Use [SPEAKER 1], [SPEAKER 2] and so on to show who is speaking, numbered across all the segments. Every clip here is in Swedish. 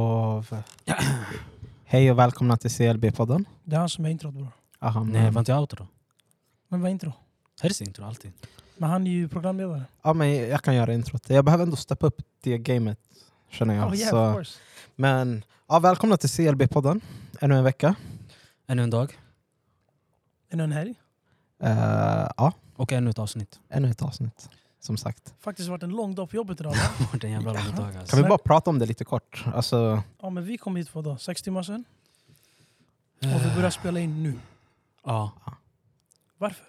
[SPEAKER 1] av... Hej och välkomna till CLB-podden.
[SPEAKER 2] Det är han som är introt bror.
[SPEAKER 1] Aha, men-
[SPEAKER 3] Nej, var inte jag outro?
[SPEAKER 2] Men vad är intro?
[SPEAKER 3] Här är det intro alltid.
[SPEAKER 2] Men han är ju programledare.
[SPEAKER 1] ja, men jag kan göra introt. Jag behöver ändå steppa upp det gamet, känner jag.
[SPEAKER 2] oh yeah of
[SPEAKER 1] så.
[SPEAKER 2] course.
[SPEAKER 1] Men ja, välkomna till CLB-podden. Ännu en vecka.
[SPEAKER 3] Ännu en dag
[SPEAKER 2] Ännu en helg.
[SPEAKER 1] Eh, ja,
[SPEAKER 3] och ännu ett avsnitt.
[SPEAKER 1] ännu ett avsnitt, som sagt.
[SPEAKER 2] Faktiskt varit en lång dag på jobbet idag. va?
[SPEAKER 3] Det har varit en jävla lång dag alltså.
[SPEAKER 1] Kan vi bara prata om det lite kort? Alltså,
[SPEAKER 2] ja men vi kom hit för då, sex timmar sedan. Och vi börjar spela in nu.
[SPEAKER 3] Ja.
[SPEAKER 2] Varför?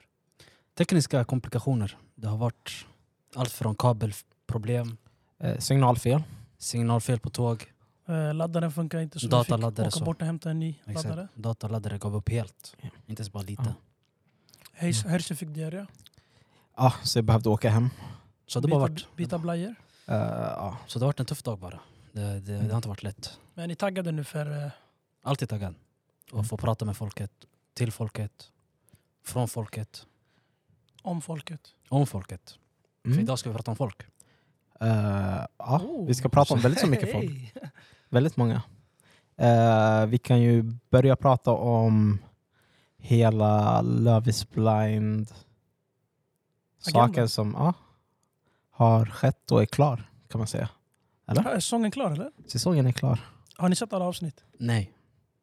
[SPEAKER 3] Tekniska komplikationer. Det har varit allt från kabelproblem,
[SPEAKER 1] eh, signalfel.
[SPEAKER 3] signalfel på tåg,
[SPEAKER 2] Eh, laddaren funkar inte så vi fick
[SPEAKER 3] Dataladdare
[SPEAKER 2] åka
[SPEAKER 3] så.
[SPEAKER 2] bort och hämta en ny laddare.
[SPEAKER 3] Exakt. Mm. dataladdare gav upp helt.
[SPEAKER 1] Ja.
[SPEAKER 3] Inte ens bara lite.
[SPEAKER 1] Ja.
[SPEAKER 2] Hejs- Herse fick diarré.
[SPEAKER 1] Ja, så jag behövde åka hem.
[SPEAKER 3] Så, det har bara varit,
[SPEAKER 2] Byta, byta blajor.
[SPEAKER 1] Eh, ja.
[SPEAKER 3] så det har varit en tuff dag bara. Det, det, det har inte varit lätt.
[SPEAKER 2] Men ni taggade nu för... eh,
[SPEAKER 3] Alltid taggad.
[SPEAKER 1] Mm.
[SPEAKER 3] Och få prata med folket, till folket, från folket,
[SPEAKER 2] om folket.
[SPEAKER 3] om folket. För
[SPEAKER 1] Mm.
[SPEAKER 3] idag ska vi prata om folk.
[SPEAKER 1] Eh, ja,
[SPEAKER 2] Oh.
[SPEAKER 1] vi ska prata om väldigt så mycket folk.
[SPEAKER 2] Hey.
[SPEAKER 1] Väldigt många. Eh, vi kan ju börja prata om hela Love is blind saken
[SPEAKER 2] Agendan.
[SPEAKER 1] som ja, har skett och är klar kan man säga. Eller?
[SPEAKER 2] Är sången klar eller?
[SPEAKER 1] Säsongen är klar.
[SPEAKER 2] Har ni sett alla avsnitt?
[SPEAKER 3] Nej.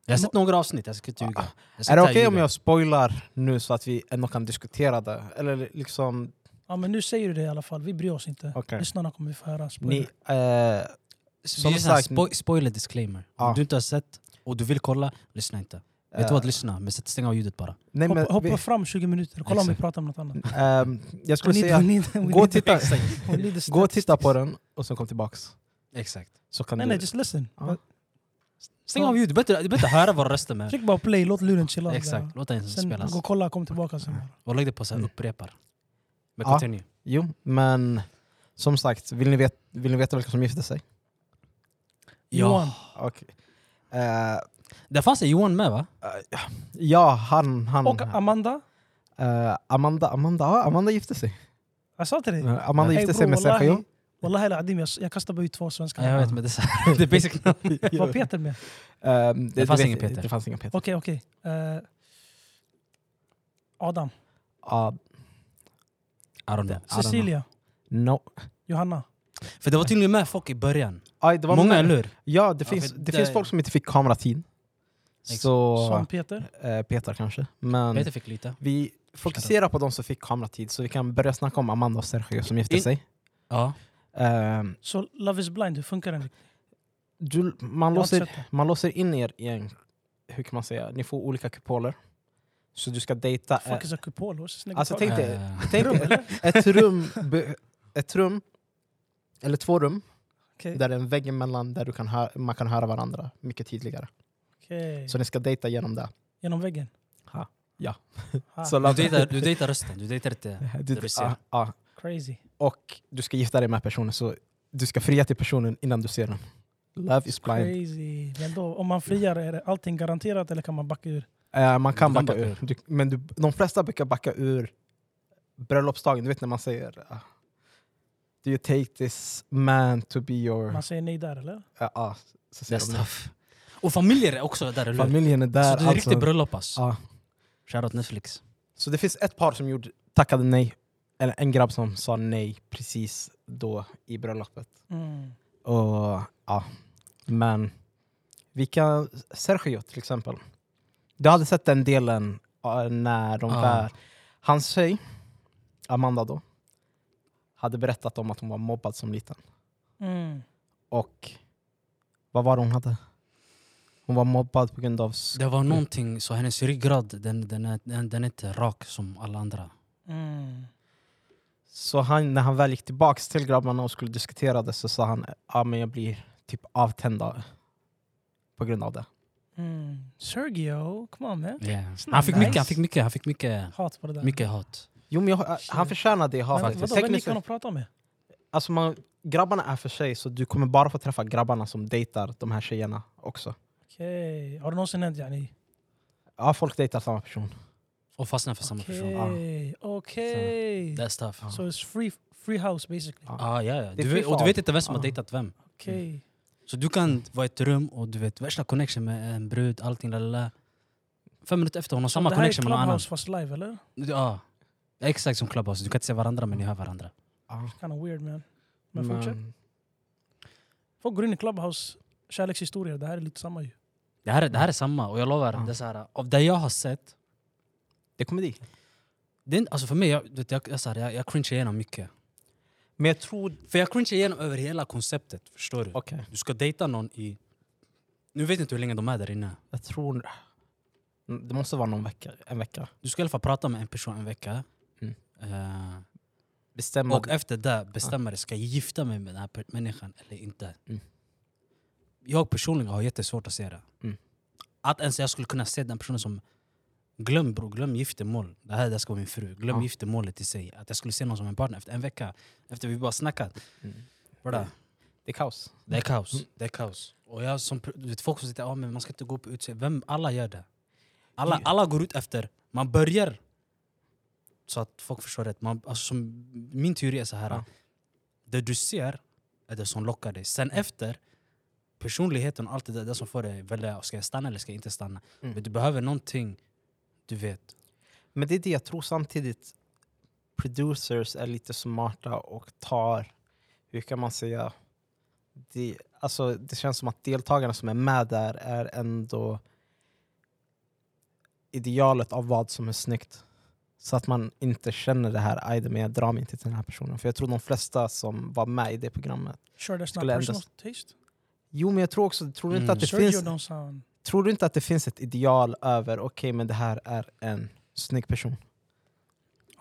[SPEAKER 3] Jag har sett några avsnitt, jag ska inte ljuga. Jag
[SPEAKER 1] Ah,
[SPEAKER 3] ska
[SPEAKER 1] Är det
[SPEAKER 3] inte
[SPEAKER 1] okej om
[SPEAKER 3] ljuga.
[SPEAKER 1] jag spoilar nu så att vi ändå kan diskutera det? Eller liksom,
[SPEAKER 2] Ja men nu säger du det i alla fall, vi bryr oss inte.
[SPEAKER 1] Okej.
[SPEAKER 2] Lyssnarna kommer få höra. spoiler.
[SPEAKER 1] ni, eh, Som
[SPEAKER 3] Som det är sagt,
[SPEAKER 1] sagt,
[SPEAKER 3] spo spoiler disclaimer.
[SPEAKER 1] Ja.
[SPEAKER 3] Om du inte har sett och du vill kolla, lyssna inte. Vet du
[SPEAKER 1] eh,
[SPEAKER 3] vad, lyssna, men sätt- stäng av ljudet bara.
[SPEAKER 1] nej, men,
[SPEAKER 2] hoppa, hoppa
[SPEAKER 1] vi,
[SPEAKER 2] fram 20 minuter, kolla om vi
[SPEAKER 3] Exakt.
[SPEAKER 2] pratar om något annat.
[SPEAKER 1] ehm, jag skulle
[SPEAKER 2] We need-
[SPEAKER 1] säga,
[SPEAKER 2] we need- we
[SPEAKER 1] gå och
[SPEAKER 2] need-
[SPEAKER 1] titta,
[SPEAKER 2] we need the
[SPEAKER 1] gå och
[SPEAKER 2] steps.
[SPEAKER 1] titta på den och sen kom tillbaks.
[SPEAKER 3] Exakt.
[SPEAKER 1] Så kan
[SPEAKER 2] Nej
[SPEAKER 1] du,
[SPEAKER 2] nej, just listen.
[SPEAKER 1] Ja.
[SPEAKER 3] Stäng av ljudet, du behöver inte- du behöver inte höra våra röster med.
[SPEAKER 2] Tryck bara play, låt luren chilla.
[SPEAKER 3] Exakt, låt den
[SPEAKER 2] Sen
[SPEAKER 3] spelas.
[SPEAKER 2] gå och kolla, kom tillbaka sen.
[SPEAKER 3] Och lägg det på så här,
[SPEAKER 1] Mm.
[SPEAKER 3] upprepar. Men
[SPEAKER 1] Ja.
[SPEAKER 3] continue.
[SPEAKER 1] Jo, men som sagt, vill ni, vet, vill ni veta vilka som gifte sig?
[SPEAKER 2] Johan.
[SPEAKER 1] Okej. Eh,
[SPEAKER 3] Det fanns en Johan med va?
[SPEAKER 1] ja, han... han
[SPEAKER 2] Och Amanda,
[SPEAKER 1] Eh, Amanda, Amanda, ja, Amanda gifte sig.
[SPEAKER 2] jag sa till dig.
[SPEAKER 1] Eh, Amanda
[SPEAKER 2] Hey,
[SPEAKER 1] gifte
[SPEAKER 2] bro,
[SPEAKER 1] sig med
[SPEAKER 2] wallahi-
[SPEAKER 1] Sergio.
[SPEAKER 2] Wallahi al-Adim, jag, jag kastar bara ut två svenskar.
[SPEAKER 3] Ja, jag vet men det är så här- det är basic namn.
[SPEAKER 2] Var Peter med?
[SPEAKER 1] Eh, det,
[SPEAKER 3] fanns
[SPEAKER 1] vet-
[SPEAKER 3] ingen Peter.
[SPEAKER 1] Det fanns ingen Peter.
[SPEAKER 2] Okej, okej. Eh, Adam,
[SPEAKER 1] Ja,
[SPEAKER 3] I don't know. I don't know.
[SPEAKER 2] Cecilia,
[SPEAKER 1] no.
[SPEAKER 2] Johanna.
[SPEAKER 3] För det var tydligen med folk i början.
[SPEAKER 1] Aj, det var
[SPEAKER 3] Många,
[SPEAKER 1] många-
[SPEAKER 3] eller hur?
[SPEAKER 1] Ja, det,
[SPEAKER 3] Ja,
[SPEAKER 1] finns,
[SPEAKER 3] för
[SPEAKER 1] det
[SPEAKER 3] det-
[SPEAKER 1] finns folk som inte fick kameratid.
[SPEAKER 3] Exakt.
[SPEAKER 1] Så
[SPEAKER 2] Som Peter.
[SPEAKER 1] eh, Peter kanske. Men
[SPEAKER 3] Peter fick lite.
[SPEAKER 1] vi fokuserar på de som fick kameratid så vi kan börja snacka om Amanda och Sergio som gifte
[SPEAKER 3] In-
[SPEAKER 1] sig.
[SPEAKER 3] Ja.
[SPEAKER 1] Eh,
[SPEAKER 2] Så Love is blind, hur funkar den?
[SPEAKER 1] du, man
[SPEAKER 2] Jag har inte
[SPEAKER 1] låser
[SPEAKER 2] sett det.
[SPEAKER 1] Man låser in er i en, hur kan man säga, ni får olika kupoler. Så du ska dejta... eh,
[SPEAKER 2] Fuck is a kupol? what's this nigga
[SPEAKER 1] Alltså,
[SPEAKER 2] talking
[SPEAKER 1] tänk dig-
[SPEAKER 3] Eh,
[SPEAKER 1] tänk
[SPEAKER 2] rum,
[SPEAKER 1] dig
[SPEAKER 2] eller?
[SPEAKER 1] ett rum, be- ett rum, eller två rum,
[SPEAKER 2] Okej.
[SPEAKER 1] där det är en vägg emellan där du kan hö- man kan höra varandra mycket tydligare.
[SPEAKER 2] Okej.
[SPEAKER 1] Så ni ska dejta genom det.
[SPEAKER 2] Genom väggen?
[SPEAKER 1] Ha. Ja.
[SPEAKER 2] Ha,
[SPEAKER 1] Så
[SPEAKER 3] Ah. du dejtar- Du dejtar rösten, du dejtar inte...
[SPEAKER 1] du,
[SPEAKER 3] det du ser.
[SPEAKER 1] ja, ja.
[SPEAKER 2] Crazy.
[SPEAKER 1] Och du ska gifta dig med personen, så du ska fria till personen innan du ser den. Love is blind.
[SPEAKER 2] Crazy. Men då, om man friar, är det allting garanterat eller kan man backa ur?
[SPEAKER 1] Eh, man kan
[SPEAKER 3] Du
[SPEAKER 1] backa ur, du, men du, de flesta brukar backa ur bröllopsdagen. Du vet när man säger ah, Do you take this man to be
[SPEAKER 3] Mm.
[SPEAKER 1] your...
[SPEAKER 2] Man säger nej där eller?
[SPEAKER 1] Ja, ah, så säger
[SPEAKER 3] Nästa.
[SPEAKER 1] de
[SPEAKER 3] Och familjer är också där,
[SPEAKER 1] det.
[SPEAKER 3] eller hur?
[SPEAKER 1] Familjen är där.
[SPEAKER 3] Så det är
[SPEAKER 1] alltså.
[SPEAKER 3] riktigt bröllop alltså.
[SPEAKER 1] Ja.
[SPEAKER 3] Shoutout Netflix.
[SPEAKER 1] Så det finns ett par som gjorde, tackade nej. Eller en grabb som sa nej precis då i bröllopet.
[SPEAKER 2] Mm.
[SPEAKER 1] Och, ja. Men vi kan... Sergio till exempel. Du hade sett den delen ah, när de
[SPEAKER 3] Ja.
[SPEAKER 1] där... Hans tjej, Amanda då, hade berättat om att hon var mobbad som liten.
[SPEAKER 2] Mm.
[SPEAKER 1] Och vad var det hon hade? Hon var mobbad på grund av... sk-
[SPEAKER 3] Det var någonting, så hennes ryggrad den, den, är, den, den är inte rak som alla andra.
[SPEAKER 2] Mm.
[SPEAKER 1] Så han, när han väl gick tillbaka till grabbarna och skulle diskutera det så sa han ah, men jag blir typ avtänd av- på grund av det.
[SPEAKER 2] Mm. Sergio, come on man.
[SPEAKER 3] Han, fick
[SPEAKER 2] Nice.
[SPEAKER 3] mycket, han fick mycket, han fick mycket,
[SPEAKER 2] Hat på det där.
[SPEAKER 3] mycket hat.
[SPEAKER 1] Jo, men jag,
[SPEAKER 2] Shit.
[SPEAKER 1] han förtjänar det
[SPEAKER 2] Men,
[SPEAKER 1] hatet.
[SPEAKER 2] vadå,
[SPEAKER 1] för
[SPEAKER 2] vem
[SPEAKER 1] Tekniskt
[SPEAKER 2] gick han
[SPEAKER 1] sett,
[SPEAKER 2] och pratade med?
[SPEAKER 1] alltså man, grabbarna är för sig, så du kommer bara få träffa grabbarna som dejtar de här tjejerna också.
[SPEAKER 2] Okej, har det någonsin hänt yani?
[SPEAKER 1] Ja, folk dejtar samma person.
[SPEAKER 3] Och fastnade Mm, för Ah. samma person.
[SPEAKER 1] ja.
[SPEAKER 2] Okej, okej.
[SPEAKER 3] That's tough.
[SPEAKER 1] Ja.
[SPEAKER 2] So it's free, free house basically.
[SPEAKER 1] Ja.
[SPEAKER 3] Ah, ja, Mm. ja.
[SPEAKER 1] Det är
[SPEAKER 3] Du, vet-
[SPEAKER 1] free
[SPEAKER 3] och du
[SPEAKER 1] fall.
[SPEAKER 3] vet inte vem som
[SPEAKER 1] Ah.
[SPEAKER 3] har dejtat vem.
[SPEAKER 2] Okej.
[SPEAKER 3] Så du kan vara i ett rum och du vet värsta connection med en brud, allting lalala. Fem minuter efter hon har samma
[SPEAKER 2] det här är
[SPEAKER 3] connection med någon annan.
[SPEAKER 2] Clubhouse fast live eller?
[SPEAKER 3] Ja. Exakt som Clubhouse, du kan inte se varandra men ni hör varandra.
[SPEAKER 1] Ja,
[SPEAKER 2] Kind of weird man. Men
[SPEAKER 3] Mm.
[SPEAKER 2] fortsätt.
[SPEAKER 1] men,
[SPEAKER 2] Folk går in i Clubhouse kärlekshistorier, det här är lite samma ju.
[SPEAKER 3] Det här, är- det här är samma och jag lovar,
[SPEAKER 1] Ja.
[SPEAKER 3] det är så här, av det jag har sett,
[SPEAKER 1] det kommer dit.
[SPEAKER 3] det är, inte- alltså för mig, jag, vet, jag, jag, så här, jag, jag cringear igenom mycket.
[SPEAKER 1] Men jag tror...
[SPEAKER 3] För jag cringear igenom över hela konceptet, förstår du?
[SPEAKER 1] Okej.
[SPEAKER 3] Du ska dejta någon i... Nu vet jag inte hur länge de är där inne.
[SPEAKER 1] Jag tror... Det måste vara någon vecka, en vecka.
[SPEAKER 3] Du ska i alla fall prata med en person en vecka.
[SPEAKER 1] Mm.
[SPEAKER 3] Eh,
[SPEAKER 1] Bestämma...
[SPEAKER 3] och efter det bestämma dig, ska jag gifta mig med den här per- människan eller inte?
[SPEAKER 1] Mm.
[SPEAKER 3] Jag personligen har jättesvårt att se det.
[SPEAKER 1] Mm.
[SPEAKER 3] Att ens jag skulle kunna se den personen som Glöm bror, glöm giftermål. Det här det ska vara min fru. Glöm
[SPEAKER 1] Ja.
[SPEAKER 3] giftermålet i sig. Att jag skulle se någon som en partner efter en vecka. Efter vi bara snackat.
[SPEAKER 1] Mm.
[SPEAKER 3] Bror,
[SPEAKER 1] det är kaos.
[SPEAKER 3] Det är kaos. Det är kaos. Mm. Och jag som, pr- du vet, folk som säger att man ska inte gå på utseende. Vem? Alla gör det. Alla,
[SPEAKER 1] Ja.
[SPEAKER 3] alla går ut efter. Man börjar så att folk förstår rätt. Man, alltså, som, min teori är så här.
[SPEAKER 1] Ja.
[SPEAKER 3] Det du ser är det som lockar dig. Sen efter, personligheten och allt det där, det som får dig välja. Ska jag stanna eller ska jag inte stanna?
[SPEAKER 1] Mm.
[SPEAKER 3] Men du behöver någonting, du vet.
[SPEAKER 1] Men det är det jag tror samtidigt. Producers är lite smarta och tar, hur kan man säga, det, alltså, det känns som att deltagarna som är med där är ändå idealet av vad som är snyggt. Så att man inte känner det här, aj men jag drar mig inte till den här personen. För jag tror de flesta som var med i det programmet.
[SPEAKER 2] Sure that's not
[SPEAKER 1] Skulle ändå-
[SPEAKER 2] personal taste.
[SPEAKER 1] Jo men jag tror också, tror du inte
[SPEAKER 3] Mm.
[SPEAKER 1] att det
[SPEAKER 2] Sergio
[SPEAKER 1] finns
[SPEAKER 2] don't sound...
[SPEAKER 1] Tror du inte att det finns ett ideal över, okej men det här är en snygg person?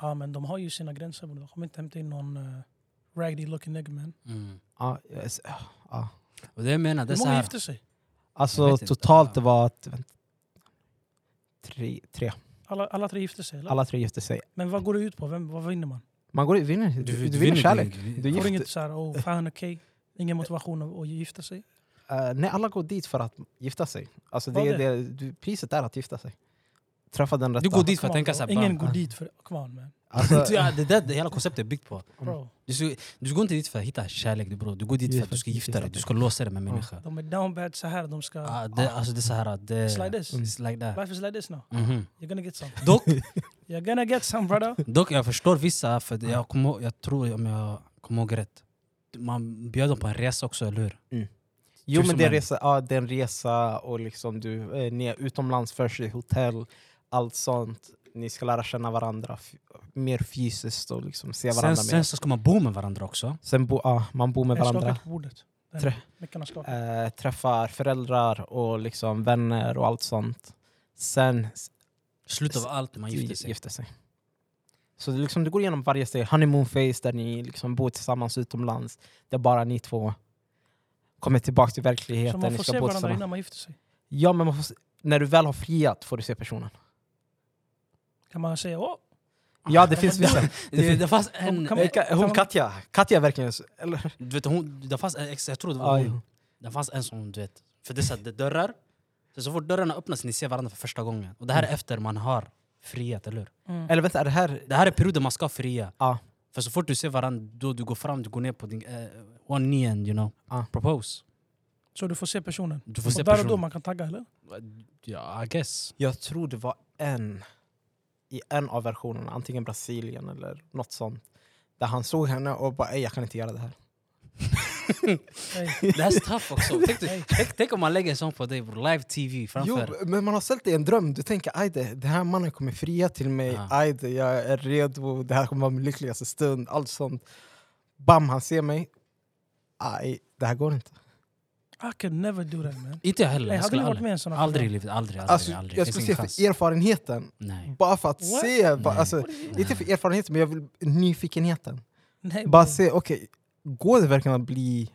[SPEAKER 2] Ja men de har ju sina gränser bror. De kommer inte hämta in någon eh, raggedy looking nigga man.
[SPEAKER 1] Ja, jag är så- ja, ja.
[SPEAKER 3] Och det jag menar, det är
[SPEAKER 2] Hur
[SPEAKER 3] så
[SPEAKER 2] många
[SPEAKER 3] här.
[SPEAKER 2] gifte sig?
[SPEAKER 1] Alltså
[SPEAKER 3] Jag vet inte.
[SPEAKER 1] totalt det var att, vänt, tre, tre.
[SPEAKER 2] Alla, alla tre gifte sig eller?
[SPEAKER 1] Alla tre gifte sig.
[SPEAKER 2] Men vad går det ut på? Vem, vad vinner man?
[SPEAKER 1] Man går, vinner, du, du, vinner kärlek.
[SPEAKER 3] Du,
[SPEAKER 1] Du
[SPEAKER 3] du,
[SPEAKER 1] gifter-
[SPEAKER 2] Får inget såhär, oh fan okej. Ingen motivation att- att gifta sig.
[SPEAKER 1] Eh, nej, alla går dit för att gifta sig. Alltså, det
[SPEAKER 2] Vad
[SPEAKER 1] är
[SPEAKER 2] är
[SPEAKER 1] det, du, priset är att gifta sig. Träffa den rätta.
[SPEAKER 3] du går dit för att
[SPEAKER 2] Come on,
[SPEAKER 3] tänka
[SPEAKER 2] bro.
[SPEAKER 3] såhär.
[SPEAKER 2] Ingen
[SPEAKER 3] Ingen...
[SPEAKER 2] går
[SPEAKER 1] Ah.
[SPEAKER 2] dit för... Come on
[SPEAKER 3] Mm.
[SPEAKER 2] man.
[SPEAKER 1] Alltså,
[SPEAKER 3] Ja, det där det hela konceptet är byggt på.
[SPEAKER 2] Bro.
[SPEAKER 3] Du, ska, du går inte dit för att hitta kärlek, du, bror. du går dit för att du ska gifta dig, du ska låsa dig med människor.
[SPEAKER 2] De är down bad så här. De ska...
[SPEAKER 3] Ah, Mm. det, alltså det är så här, det
[SPEAKER 2] It's like this.
[SPEAKER 3] It's like that.
[SPEAKER 2] Life is like this now.
[SPEAKER 3] Mhm.
[SPEAKER 2] You're gonna get some.
[SPEAKER 3] Dock,
[SPEAKER 2] You're gonna get some brother.
[SPEAKER 3] dock, jag förstår vissa, för det- jag, kommer, ihåg- jag tror om jag kommer ihåg rätt, man bjöd dem på en resa också, eller hur?
[SPEAKER 1] jo men
[SPEAKER 3] tusen
[SPEAKER 1] det är,
[SPEAKER 3] män.
[SPEAKER 1] resa, ja, det är en resa och liksom du är ner utomlands först i hotell, allt sånt. Ni ska lära känna varandra f- mer fysiskt och liksom se varandra
[SPEAKER 3] Sen,
[SPEAKER 1] mer.
[SPEAKER 3] sen så ska man bo med varandra också.
[SPEAKER 1] Sen bo, ja, man bor med
[SPEAKER 2] Jag
[SPEAKER 1] varandra,
[SPEAKER 2] skakar på bordet. Den-
[SPEAKER 1] Trä-
[SPEAKER 2] Mickarna
[SPEAKER 3] Äh,
[SPEAKER 2] skakar.
[SPEAKER 1] eh, träffar föräldrar och liksom vänner och allt sånt. Sen s-
[SPEAKER 3] Slut av allt, man gifter sig.
[SPEAKER 1] gifter sig. Så det är liksom, du går igenom varje steg. Honeymoon phase där ni liksom bor tillsammans utomlands. Det är bara ni två. Kommer tillbaka till
[SPEAKER 2] Så
[SPEAKER 1] verkligheten.
[SPEAKER 2] man
[SPEAKER 1] Ni
[SPEAKER 2] får
[SPEAKER 1] ska
[SPEAKER 2] se
[SPEAKER 1] bo
[SPEAKER 2] varandra
[SPEAKER 1] tillsammans.
[SPEAKER 2] innan man gifter sig.
[SPEAKER 1] Ja, men man får, se- när du väl har friat får du se personen.
[SPEAKER 2] Kan man säga åh,
[SPEAKER 1] Ja, det finns vissa.
[SPEAKER 3] Det, det fanns en...
[SPEAKER 2] Kan man-
[SPEAKER 1] Eh, Ka-
[SPEAKER 2] kan
[SPEAKER 1] Ah. Hon
[SPEAKER 2] man-
[SPEAKER 1] Katja. Katja är verkligen... så- Eller,
[SPEAKER 3] Du vet, hon, det fanns en, ex- jag tror det var
[SPEAKER 1] ja,
[SPEAKER 3] hon. Det fanns en som du vet, för det är så här, det är dörrar, så, så fort dörrarna öppnas ni ser varandra för första gången. Och det här är efter man har friat, eller hur?
[SPEAKER 2] mm.
[SPEAKER 1] eller vänta, är det här...
[SPEAKER 3] Det här är perioden man ska fria.
[SPEAKER 1] Ja.
[SPEAKER 3] För så fort du ser varandra, då du går fram, du går ner på din eh, one knee and you know,
[SPEAKER 1] Ja.
[SPEAKER 3] propose.
[SPEAKER 2] så du får se personen.
[SPEAKER 3] Du får se
[SPEAKER 2] och där och då
[SPEAKER 3] personen.
[SPEAKER 2] man kan tagga eller?
[SPEAKER 3] Ja, I guess.
[SPEAKER 1] Jag tror det var en i en av versionerna, antingen Brasilien eller något sånt. Där han såg henne och bara "Ey, jag kan inte göra det här.
[SPEAKER 2] Nej.
[SPEAKER 3] Det här är tough också. Tänk, du- tänk, tänk om man lägger en sån på dig, bro. live tv
[SPEAKER 1] Jo,
[SPEAKER 3] framför.
[SPEAKER 1] men man har ställt det i en dröm. Du tänker aj det, den här mannen kommer fria till mig.
[SPEAKER 3] Ja.
[SPEAKER 1] Aj det, jag är redo. Det här kommer vara min lyckligaste stund. Allt sånt. Bam, han ser mig. Aj, det här går
[SPEAKER 3] Alltså,
[SPEAKER 1] inte.
[SPEAKER 2] I could never do that man.
[SPEAKER 3] Inte jag heller.
[SPEAKER 2] Nej,
[SPEAKER 3] Jag
[SPEAKER 2] hade
[SPEAKER 3] skulle
[SPEAKER 2] ni varit
[SPEAKER 3] aldrig.
[SPEAKER 2] med i en sån här
[SPEAKER 3] Aldrig i
[SPEAKER 2] program?
[SPEAKER 3] livet, aldrig, aldrig,
[SPEAKER 1] Alltså,
[SPEAKER 3] aldrig.
[SPEAKER 1] jag
[SPEAKER 3] Finns
[SPEAKER 1] skulle se
[SPEAKER 3] ingen
[SPEAKER 1] för
[SPEAKER 3] chans.
[SPEAKER 1] erfarenheten.
[SPEAKER 3] Nej.
[SPEAKER 1] Bara för att
[SPEAKER 2] What?
[SPEAKER 1] se. Bara,
[SPEAKER 3] Nej.
[SPEAKER 1] alltså, inte för erfarenheten, men jag vill nyfikenheten.
[SPEAKER 2] Nej,
[SPEAKER 1] Bara
[SPEAKER 2] bro.
[SPEAKER 1] se, okej, går det verkligen att bli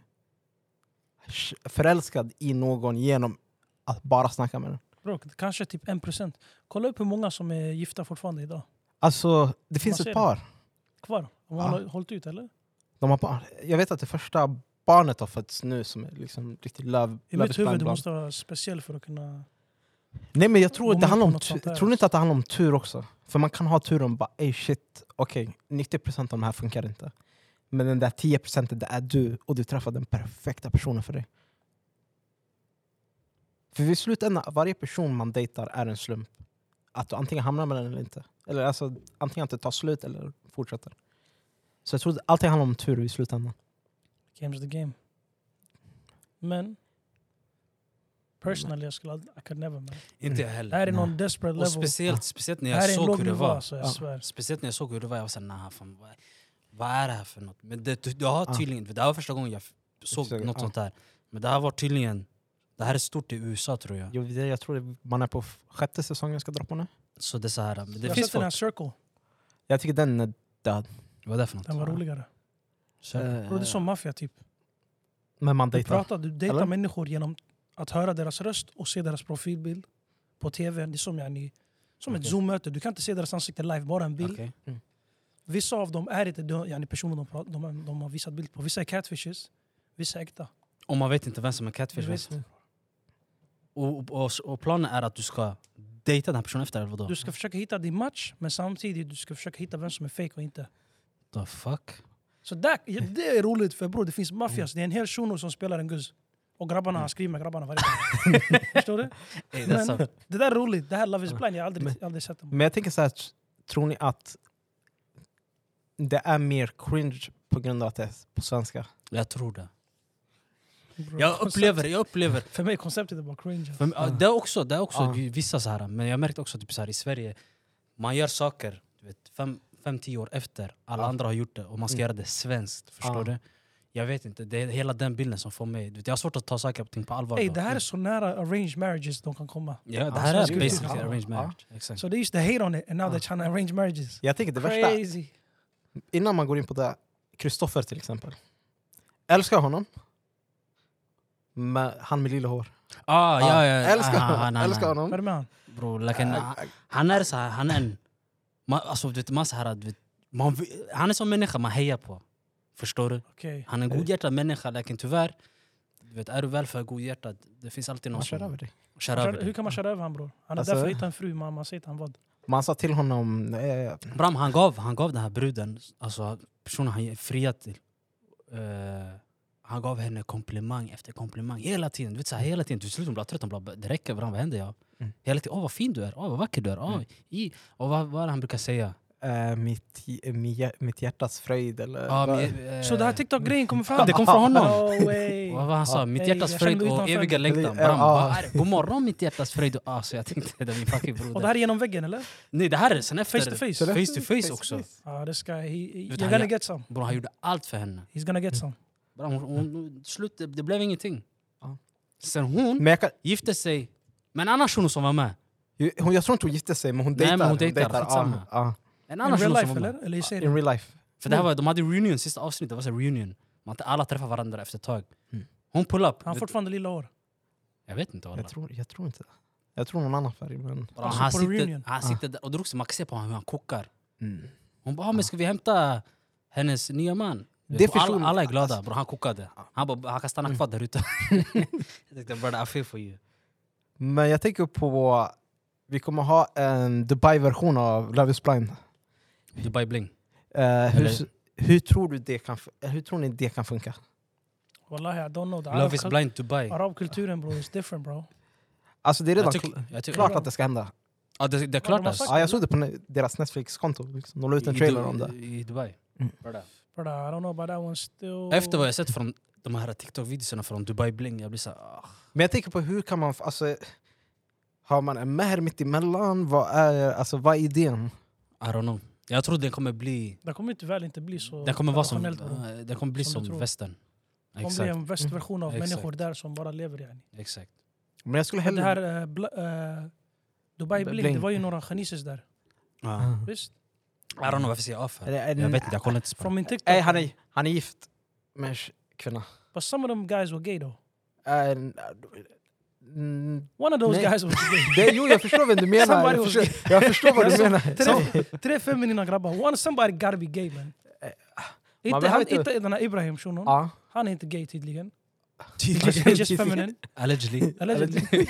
[SPEAKER 1] förälskad i någon genom att bara snacka med den?
[SPEAKER 2] Bro, det kanske typ 1%. Kolla upp hur många som är gifta fortfarande idag.
[SPEAKER 1] Alltså, det finns
[SPEAKER 2] Man ser
[SPEAKER 1] ett par.
[SPEAKER 2] Kvar. De
[SPEAKER 1] Ja.
[SPEAKER 2] har håll- hållit ut eller?
[SPEAKER 1] De har barn. Jag vet att det första barnet har fötts nu som är liksom riktigt love,
[SPEAKER 2] I
[SPEAKER 1] love is
[SPEAKER 2] mitt huvud
[SPEAKER 1] blind
[SPEAKER 2] du
[SPEAKER 1] barn.
[SPEAKER 2] måste vara speciell för att kunna...
[SPEAKER 1] Nej men jag tror
[SPEAKER 2] gå
[SPEAKER 1] det
[SPEAKER 2] med
[SPEAKER 1] handlar
[SPEAKER 2] på
[SPEAKER 1] om
[SPEAKER 2] något sånt
[SPEAKER 1] tur.
[SPEAKER 2] där
[SPEAKER 1] Tror ni inte att det handlar om tur också? För man kan ha tur och bara ey shit, okej 90% av de här funkar inte. Men den där 10% det är du och du träffar den perfekta personen för dig. För vid slutändan, varje person man dejtar är en slump. Att du antingen hamnar med den eller inte. Eller alltså, antingen att det tar slut eller fortsätter. Så jag tror att allting handlar om tur i slutändan.
[SPEAKER 2] Game's the game. Men... Personally, jag skulle aldrig... I could never man.
[SPEAKER 3] Inte jag
[SPEAKER 2] Det här
[SPEAKER 3] heller.
[SPEAKER 2] är någon desperate
[SPEAKER 3] Och
[SPEAKER 2] level.
[SPEAKER 3] speciellt, speciellt när
[SPEAKER 2] Det
[SPEAKER 3] jag
[SPEAKER 2] här är en
[SPEAKER 3] såg
[SPEAKER 2] låg
[SPEAKER 3] hur det
[SPEAKER 2] nivå
[SPEAKER 3] var.
[SPEAKER 2] alltså, jag
[SPEAKER 1] Ja.
[SPEAKER 2] svär.
[SPEAKER 3] Speciellt när jag såg hur det var, jag var såhär nah, fan, vad, vad är det här för något? Men det, det har
[SPEAKER 2] Ah.
[SPEAKER 1] Ja.
[SPEAKER 3] tydligen, för det här var första gången jag f- såg
[SPEAKER 1] Exakt,
[SPEAKER 3] något
[SPEAKER 1] ja.
[SPEAKER 3] sånt här. Men det här var tydligen, det här är stort i USA tror jag.
[SPEAKER 1] Jag, jag tror att man är på f- sjätte säsongen jag ska dra på nu.
[SPEAKER 3] Så det är så här, men
[SPEAKER 2] Jag
[SPEAKER 3] det
[SPEAKER 2] har
[SPEAKER 3] finns
[SPEAKER 2] sett den här
[SPEAKER 3] folk.
[SPEAKER 2] Circle.
[SPEAKER 1] Jag tycker den är...
[SPEAKER 3] Vad är det för något?
[SPEAKER 2] Den var
[SPEAKER 1] Ja.
[SPEAKER 2] roligare.
[SPEAKER 3] Så,
[SPEAKER 2] Bro, det är som maffia typ.
[SPEAKER 1] Eh, Men man
[SPEAKER 2] Du
[SPEAKER 1] dejtar.
[SPEAKER 2] pratar, du dejtar
[SPEAKER 1] Eller?
[SPEAKER 2] människor genom att höra deras röst och se deras profilbild på tv. Det är som, yani, som ett
[SPEAKER 3] Okej.
[SPEAKER 2] zoom-möte. Du kan inte se deras ansikte live, bara en bild.
[SPEAKER 3] okej. Mm.
[SPEAKER 2] Vissa av dem är inte de, yani personer de, pra- de, de har visat bild på. Vissa är catfishes, vissa är äkta.
[SPEAKER 3] Och man vet inte vem som är
[SPEAKER 2] Du
[SPEAKER 3] catfish.
[SPEAKER 2] vet,
[SPEAKER 3] Och, och, och planen är att du ska dejta den här personen efter, eller vadå?
[SPEAKER 2] du ska försöka hitta din match, men samtidigt du ska försöka hitta vem som är fake och inte.
[SPEAKER 3] The fuck?
[SPEAKER 2] Så där, ja, det är roligt, för bror, det finns
[SPEAKER 3] Mm.
[SPEAKER 2] maffias. Det är en hel shuno som spelar en guzz. Och grabbarna, han skriver med grabbarna varje dag. Förstår du?
[SPEAKER 3] Ey, Mm. det är
[SPEAKER 2] Men
[SPEAKER 3] sant.
[SPEAKER 2] det där är roligt. Det här är Love is blind, jag har aldrig,
[SPEAKER 1] Men-
[SPEAKER 2] jag har aldrig sett dem.
[SPEAKER 1] Men jag tänker så här, t- tror ni att det är mer cringe på grund av att det är på svenska?
[SPEAKER 3] Jag tror det.
[SPEAKER 2] Bror,
[SPEAKER 3] Jag upplever, jag upplever
[SPEAKER 2] För mig konceptet är bara cringe.
[SPEAKER 3] För, ja. Det är också, det är också
[SPEAKER 1] Ja.
[SPEAKER 3] ju vissa så här, men jag märkte också typ så här, i Sverige, man gör saker du vet, fem, fem, tio år efter alla
[SPEAKER 1] Ja.
[SPEAKER 3] andra har gjort det och man ska
[SPEAKER 1] Mm.
[SPEAKER 3] göra det svenskt. Förstår
[SPEAKER 1] Ja.
[SPEAKER 3] du? Jag vet inte, det är hela den bilden som får mig... Du vet, jag har svårt att ta saker och ting på allvar.
[SPEAKER 2] Ey,
[SPEAKER 3] då.
[SPEAKER 2] det här är så nära arranged marriages de kan komma.
[SPEAKER 3] ja, det
[SPEAKER 1] Ja,
[SPEAKER 3] här
[SPEAKER 2] svensk
[SPEAKER 3] är
[SPEAKER 2] kultur.
[SPEAKER 3] basically
[SPEAKER 1] Ja.
[SPEAKER 3] arranged
[SPEAKER 1] Ja.
[SPEAKER 3] marriage. Exakt.
[SPEAKER 2] So they used to hate on it and now
[SPEAKER 1] Ja.
[SPEAKER 3] Ah.
[SPEAKER 2] they're trying to arrange marriages.
[SPEAKER 1] Jag tänker det värsta,
[SPEAKER 2] Crazy.
[SPEAKER 1] innan man går in på det, Kristoffer till exempel. Älskar honom. Men han med lilla hår.
[SPEAKER 3] ah, ja, ja,
[SPEAKER 1] Älskar
[SPEAKER 3] ah,
[SPEAKER 1] honom.
[SPEAKER 3] nej, nej.
[SPEAKER 1] Älskar
[SPEAKER 2] Vad är
[SPEAKER 1] honom.
[SPEAKER 2] det med han?
[SPEAKER 3] Bro, like en, han är så här, han är en... Man, alltså, du vet, man så här, du vet, man, vill- han är som människa man hejar på. Förstår du?
[SPEAKER 2] Okej.
[SPEAKER 3] Han är en godhjärtad människa, läkaren tyvärr. Du vet, är du väl för godhjärtad, det finns alltid någon
[SPEAKER 1] Man kör
[SPEAKER 3] som
[SPEAKER 1] över dig.
[SPEAKER 3] kör över
[SPEAKER 2] Hur
[SPEAKER 3] dig.
[SPEAKER 2] kan man köra över han bror? Han är
[SPEAKER 1] Alltså-
[SPEAKER 2] där för att hitta en fru, man, man säger att han vad?
[SPEAKER 1] Man sa till honom... Eh,
[SPEAKER 3] Bram, han gav, han gav den här bruden, alltså personen han friat till. eh, han gav henne komplimang efter komplimang hela tiden. Du vet, så här, hela tiden. Till slut hon blev trött, hon bara "Bra, det räcker Bram, vad händer? Jag?
[SPEAKER 1] Mm.
[SPEAKER 3] Hela tiden, åh vad fin du är, åh vad vacker du är. Åh,
[SPEAKER 1] Mm.
[SPEAKER 3] i. Och vad, vad är det han brukar säga?
[SPEAKER 1] eh, mitt, hj- mi- hj- mitt hjärtas fröjd eller...
[SPEAKER 3] Ah,
[SPEAKER 1] vad-
[SPEAKER 3] men, eh,
[SPEAKER 2] Så det här TikTok-grejen kommer fram?
[SPEAKER 3] det kom från honom.
[SPEAKER 2] No way!
[SPEAKER 3] Vad var han sa?
[SPEAKER 1] Ah,
[SPEAKER 3] Mitt
[SPEAKER 2] ey,
[SPEAKER 3] hjärtas
[SPEAKER 2] jag känner
[SPEAKER 3] fröjd
[SPEAKER 2] mig
[SPEAKER 3] och
[SPEAKER 2] utanför.
[SPEAKER 3] eviga längtan.
[SPEAKER 1] Eller,
[SPEAKER 3] Bram,
[SPEAKER 1] ah.
[SPEAKER 3] vad är det? God morgon mitt hjärtas fröjd och... Ah, så jag tänkte, det är min fucking
[SPEAKER 2] Och
[SPEAKER 3] broder.
[SPEAKER 2] det här är genom väggen eller?
[SPEAKER 3] Nej det här är sen efter...
[SPEAKER 2] Face to face?
[SPEAKER 1] Eller?
[SPEAKER 3] Face to face också.
[SPEAKER 2] Ja, this guy, he, he,
[SPEAKER 3] vet,
[SPEAKER 2] you're
[SPEAKER 3] han
[SPEAKER 2] gonna
[SPEAKER 3] gör-
[SPEAKER 2] get some.
[SPEAKER 3] Bro, han gjorde allt för henne.
[SPEAKER 2] He's gonna get some.
[SPEAKER 3] Bra, hon, hon, hon, slut, det, det blev ingenting.
[SPEAKER 1] Ja.
[SPEAKER 3] Sen hon
[SPEAKER 1] Men jag, kan,
[SPEAKER 3] gifte sig med en annan shuno som var med.
[SPEAKER 1] ju- hon, jag tror inte hon gifte sig, men hon
[SPEAKER 3] Nej,
[SPEAKER 1] dejtar.
[SPEAKER 3] men hon dejtar, skitsamma.
[SPEAKER 1] ja, ja.
[SPEAKER 3] En
[SPEAKER 2] In
[SPEAKER 3] annan
[SPEAKER 2] real
[SPEAKER 3] shuno som
[SPEAKER 2] life
[SPEAKER 3] var med.
[SPEAKER 2] eller? Eller i serien?
[SPEAKER 1] In real life.
[SPEAKER 3] För det här var, de hade reunion sista avsnittet, det var så här reunion. Man, alla träffar varandra efter ett tag.
[SPEAKER 1] Mm.
[SPEAKER 3] Hon pull up.
[SPEAKER 2] Han har
[SPEAKER 3] Vet-
[SPEAKER 2] fortfarande lilla hår.
[SPEAKER 3] jag vet inte alla.
[SPEAKER 1] Jag tror, jag tror inte det. Jag tror någon annan färg, men...
[SPEAKER 3] Bra,
[SPEAKER 2] Alltså,
[SPEAKER 3] han
[SPEAKER 2] på
[SPEAKER 3] sitter,
[SPEAKER 2] reunion.
[SPEAKER 3] han
[SPEAKER 1] Ah.
[SPEAKER 3] sitter där, och det är också, man kan se på honom hur han kokar.
[SPEAKER 1] Mm.
[SPEAKER 3] Hon bara, ah, men ska vi hämta hennes nya man?
[SPEAKER 1] Det
[SPEAKER 3] Vet, och
[SPEAKER 1] förstår-
[SPEAKER 3] alla, alla är glada,
[SPEAKER 1] alltså-
[SPEAKER 3] bro, han kokade. Han bara, han kan stanna kvar där ute. jag tänkte, bror I feel for you.
[SPEAKER 1] Men jag tänker på... Vi kommer ha en Dubai-version av Love is blind.
[SPEAKER 3] Dubai bling.
[SPEAKER 1] Eh, hur,
[SPEAKER 3] Eller-
[SPEAKER 1] hur, tror du det kan, f- eh, hur tror ni det kan funka?
[SPEAKER 2] Wallahi, I don't know. The Arab
[SPEAKER 3] Love is
[SPEAKER 2] cult-
[SPEAKER 3] blind Dubai.
[SPEAKER 2] Arabkulturen bror, it's different bro.
[SPEAKER 1] Alltså det är redan
[SPEAKER 3] Jag tycker- jag tycker-
[SPEAKER 1] klart att det ska hända.
[SPEAKER 3] Ja, det, det är
[SPEAKER 2] Vad de
[SPEAKER 3] klart
[SPEAKER 2] har
[SPEAKER 3] alltså.
[SPEAKER 2] sagt.
[SPEAKER 1] Ja, jag såg det på ne- deras Netflix-konto. Liksom. De la ut en
[SPEAKER 3] I- i
[SPEAKER 1] trailer
[SPEAKER 3] Du-
[SPEAKER 1] om det.
[SPEAKER 3] I Dubai.
[SPEAKER 1] Mm.
[SPEAKER 3] Brother.
[SPEAKER 2] Bror, I don't know about that one still.
[SPEAKER 3] Efter vad jag sett från de här TikTok-videorna från Dubai Bling, jag blir såhär... ah.
[SPEAKER 1] Men jag tänker på hur kan man... f- Alltså, har man en mäher mitt emellan? Vad är, alltså, vad är idén?
[SPEAKER 3] I don't know. Jag tror den kommer bli...
[SPEAKER 2] Det kommer inte väl inte bli så
[SPEAKER 3] Den kommer vara som,
[SPEAKER 2] traditionellt, bror.
[SPEAKER 3] eh, den kommer bli
[SPEAKER 2] Som
[SPEAKER 3] som,
[SPEAKER 2] du tror.
[SPEAKER 3] västern.
[SPEAKER 2] Det kommer bli
[SPEAKER 3] Exakt.
[SPEAKER 2] en västversion av
[SPEAKER 3] Mm. Exakt.
[SPEAKER 2] människor där som bara lever yani.
[SPEAKER 3] exakt.
[SPEAKER 1] Men jag skulle
[SPEAKER 2] Men det
[SPEAKER 1] hellre...
[SPEAKER 2] här eh, bla- eh, Dubai
[SPEAKER 1] B-
[SPEAKER 2] Bling, det
[SPEAKER 1] Bling.
[SPEAKER 2] var ju några genises där.
[SPEAKER 3] Ja.
[SPEAKER 1] Ah.
[SPEAKER 2] Visst?
[SPEAKER 3] I don't know varför säger jag A för.
[SPEAKER 1] Eller en-
[SPEAKER 3] Jag vet inte, jag kollar inte. på
[SPEAKER 2] Från min TikTok.
[SPEAKER 1] Nej, han är, han är gift med en tj- kvinna.
[SPEAKER 2] But some of them guys were gay though.
[SPEAKER 1] En- mm,
[SPEAKER 2] One of those
[SPEAKER 1] Nej.
[SPEAKER 2] guys was gay.
[SPEAKER 1] det, jo, jag förstår vad du menar.
[SPEAKER 2] Somebody
[SPEAKER 1] Jag
[SPEAKER 2] was
[SPEAKER 1] förstår, jag förstår vad du
[SPEAKER 2] Alltså,
[SPEAKER 1] menar.
[SPEAKER 2] Tre, tre feminina grabbar. One somebody gotta be gay man. Inte,
[SPEAKER 1] behöver
[SPEAKER 2] han,
[SPEAKER 1] inte-
[SPEAKER 2] inte den här Ibrahim shunon.
[SPEAKER 1] Ja.
[SPEAKER 2] Han är inte gay tydligen.
[SPEAKER 3] det.
[SPEAKER 2] Just, just feminine.
[SPEAKER 3] Allegedly.
[SPEAKER 2] Allegedly.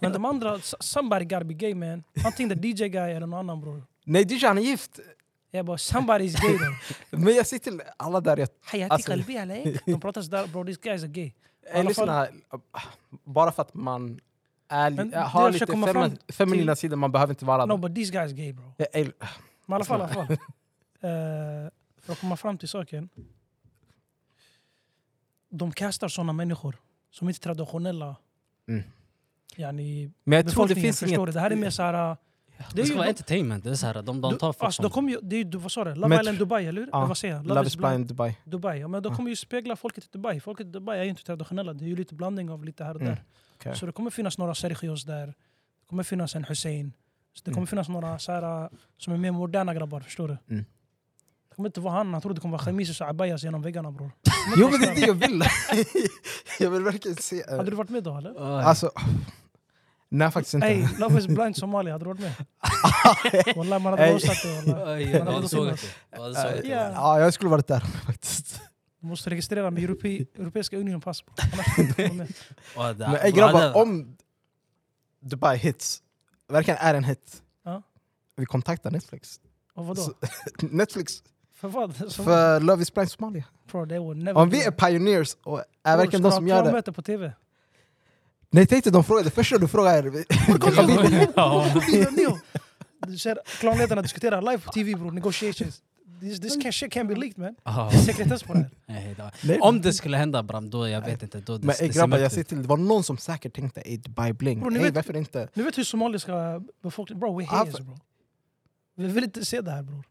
[SPEAKER 2] Men de andra, s- somebody gotta be gay man. Antingen the DJ guy eller någon annan bror.
[SPEAKER 1] Nej, DJ han är gift.
[SPEAKER 2] Jag bara somebody's gay though.
[SPEAKER 1] Men jag ser till alla där jag
[SPEAKER 2] حياتي
[SPEAKER 1] Alltså-
[SPEAKER 2] قلبي عليك. De pratar sådär bror, these guys are gay.
[SPEAKER 1] Eller såna här, bara för att man ärlig,
[SPEAKER 2] Men
[SPEAKER 1] ha
[SPEAKER 2] jag
[SPEAKER 1] lite
[SPEAKER 2] försöker komma fram
[SPEAKER 1] femi- feminina sidor, man behöver inte vara
[SPEAKER 2] No,
[SPEAKER 1] no,
[SPEAKER 2] but these guys gay bro.
[SPEAKER 1] jag, äl-
[SPEAKER 2] Men i alla fall, i alla fall. Eh, för att komma fram till saken. De kastar sådana människor som inte är traditionella.
[SPEAKER 1] Mm.
[SPEAKER 2] Yani,
[SPEAKER 1] Men jag tror det
[SPEAKER 2] befolkningen,
[SPEAKER 1] finns
[SPEAKER 2] förstår
[SPEAKER 1] inget...
[SPEAKER 2] du? Det här är mer såhär...
[SPEAKER 3] Det,
[SPEAKER 2] är
[SPEAKER 3] ska
[SPEAKER 2] ju
[SPEAKER 3] vara
[SPEAKER 2] de-
[SPEAKER 3] entertainment. Det är så här, de, de
[SPEAKER 2] Du,
[SPEAKER 3] tar folk
[SPEAKER 2] alltså, då
[SPEAKER 3] som...
[SPEAKER 2] kommer ju, det är, ju- du, vad sa du? Love
[SPEAKER 1] Men-
[SPEAKER 2] Island Dubai, eller hur?
[SPEAKER 1] Ja,
[SPEAKER 2] Eh, vad säger jag?
[SPEAKER 1] Love is blind Dubai.
[SPEAKER 2] Dubai. Ja, men då
[SPEAKER 1] Ja.
[SPEAKER 2] kommer ju spegla folket i Dubai. Folket i Dubai är ju inte traditionella. Det är ju lite blandning av lite här och där.
[SPEAKER 1] Mm, okej.
[SPEAKER 2] Så det kommer finnas några Sergios där. Det kommer finnas en Hussein. Så det
[SPEAKER 1] Mm.
[SPEAKER 2] kommer finnas några så här, som är mer moderna grabbar, förstår du?
[SPEAKER 1] Mm.
[SPEAKER 2] Det kommer inte vara han. Han tror det kommer vara chemises och abayas genom väggarna bror.
[SPEAKER 1] Jo men det är det jag vill! jag vill verkligen se... eh,
[SPEAKER 2] Hade du varit med då eller?
[SPEAKER 3] Oj.
[SPEAKER 1] Alltså... Nej faktiskt inte.
[SPEAKER 2] Ey, Love is blind Somalia, hade du varit med? Wallah, man hade
[SPEAKER 1] Ey.
[SPEAKER 2] roastat dig wallah.
[SPEAKER 3] Oj,
[SPEAKER 2] Man hade
[SPEAKER 3] ja, du såg
[SPEAKER 2] filmat.
[SPEAKER 3] att det. Ja, du såg att det.
[SPEAKER 2] Ja.
[SPEAKER 1] Ja, jag skulle varit där faktiskt.
[SPEAKER 2] Du måste registrera med Europe, Europeiska Unionen pass. bror. Annars får du inte vara med.
[SPEAKER 3] Ja, det-
[SPEAKER 1] Men ey,
[SPEAKER 3] hade-
[SPEAKER 1] grabbar, om Dubai hits, verkligen är en hit,
[SPEAKER 2] Ja.
[SPEAKER 1] vi kontaktar Netflix.
[SPEAKER 2] Och vadå?
[SPEAKER 1] Så- Netflix
[SPEAKER 2] För vad? Så,
[SPEAKER 1] för Love is blind Somalia.
[SPEAKER 2] bro, they will never
[SPEAKER 1] Om vi
[SPEAKER 2] do
[SPEAKER 1] är
[SPEAKER 2] that.
[SPEAKER 1] pioneers och är
[SPEAKER 2] Bror,
[SPEAKER 1] verkligen de
[SPEAKER 2] ska du
[SPEAKER 1] som
[SPEAKER 2] ha
[SPEAKER 1] gör det.
[SPEAKER 2] klarmöte på tv?
[SPEAKER 1] Nej, tänk dig, de frågar, det första du frågar är...
[SPEAKER 3] Ja.
[SPEAKER 2] Neo. Du ser klanledarna diskutera live på tv bror, negotiations. This, this can, shit can be leaked man.
[SPEAKER 3] Ja.
[SPEAKER 2] Det är sekretess på det här.
[SPEAKER 3] Nej, det var-
[SPEAKER 1] Nej.
[SPEAKER 3] Om det skulle hända Bram, då jag vet inte. Då, det,
[SPEAKER 1] Men ey,
[SPEAKER 3] det ser
[SPEAKER 1] grabbar,
[SPEAKER 3] mörkt
[SPEAKER 1] jag
[SPEAKER 3] ut.
[SPEAKER 1] ser till, det var någon som säkert tänkte ey Dubai bling.
[SPEAKER 2] Bro, ni
[SPEAKER 1] Ey,
[SPEAKER 2] vet-
[SPEAKER 1] varför inte?
[SPEAKER 2] Ni vet hur somaliska befolkningen... Bro, we
[SPEAKER 1] Ah,
[SPEAKER 2] haters
[SPEAKER 1] för-
[SPEAKER 2] bro. Vi vill inte se det här bror.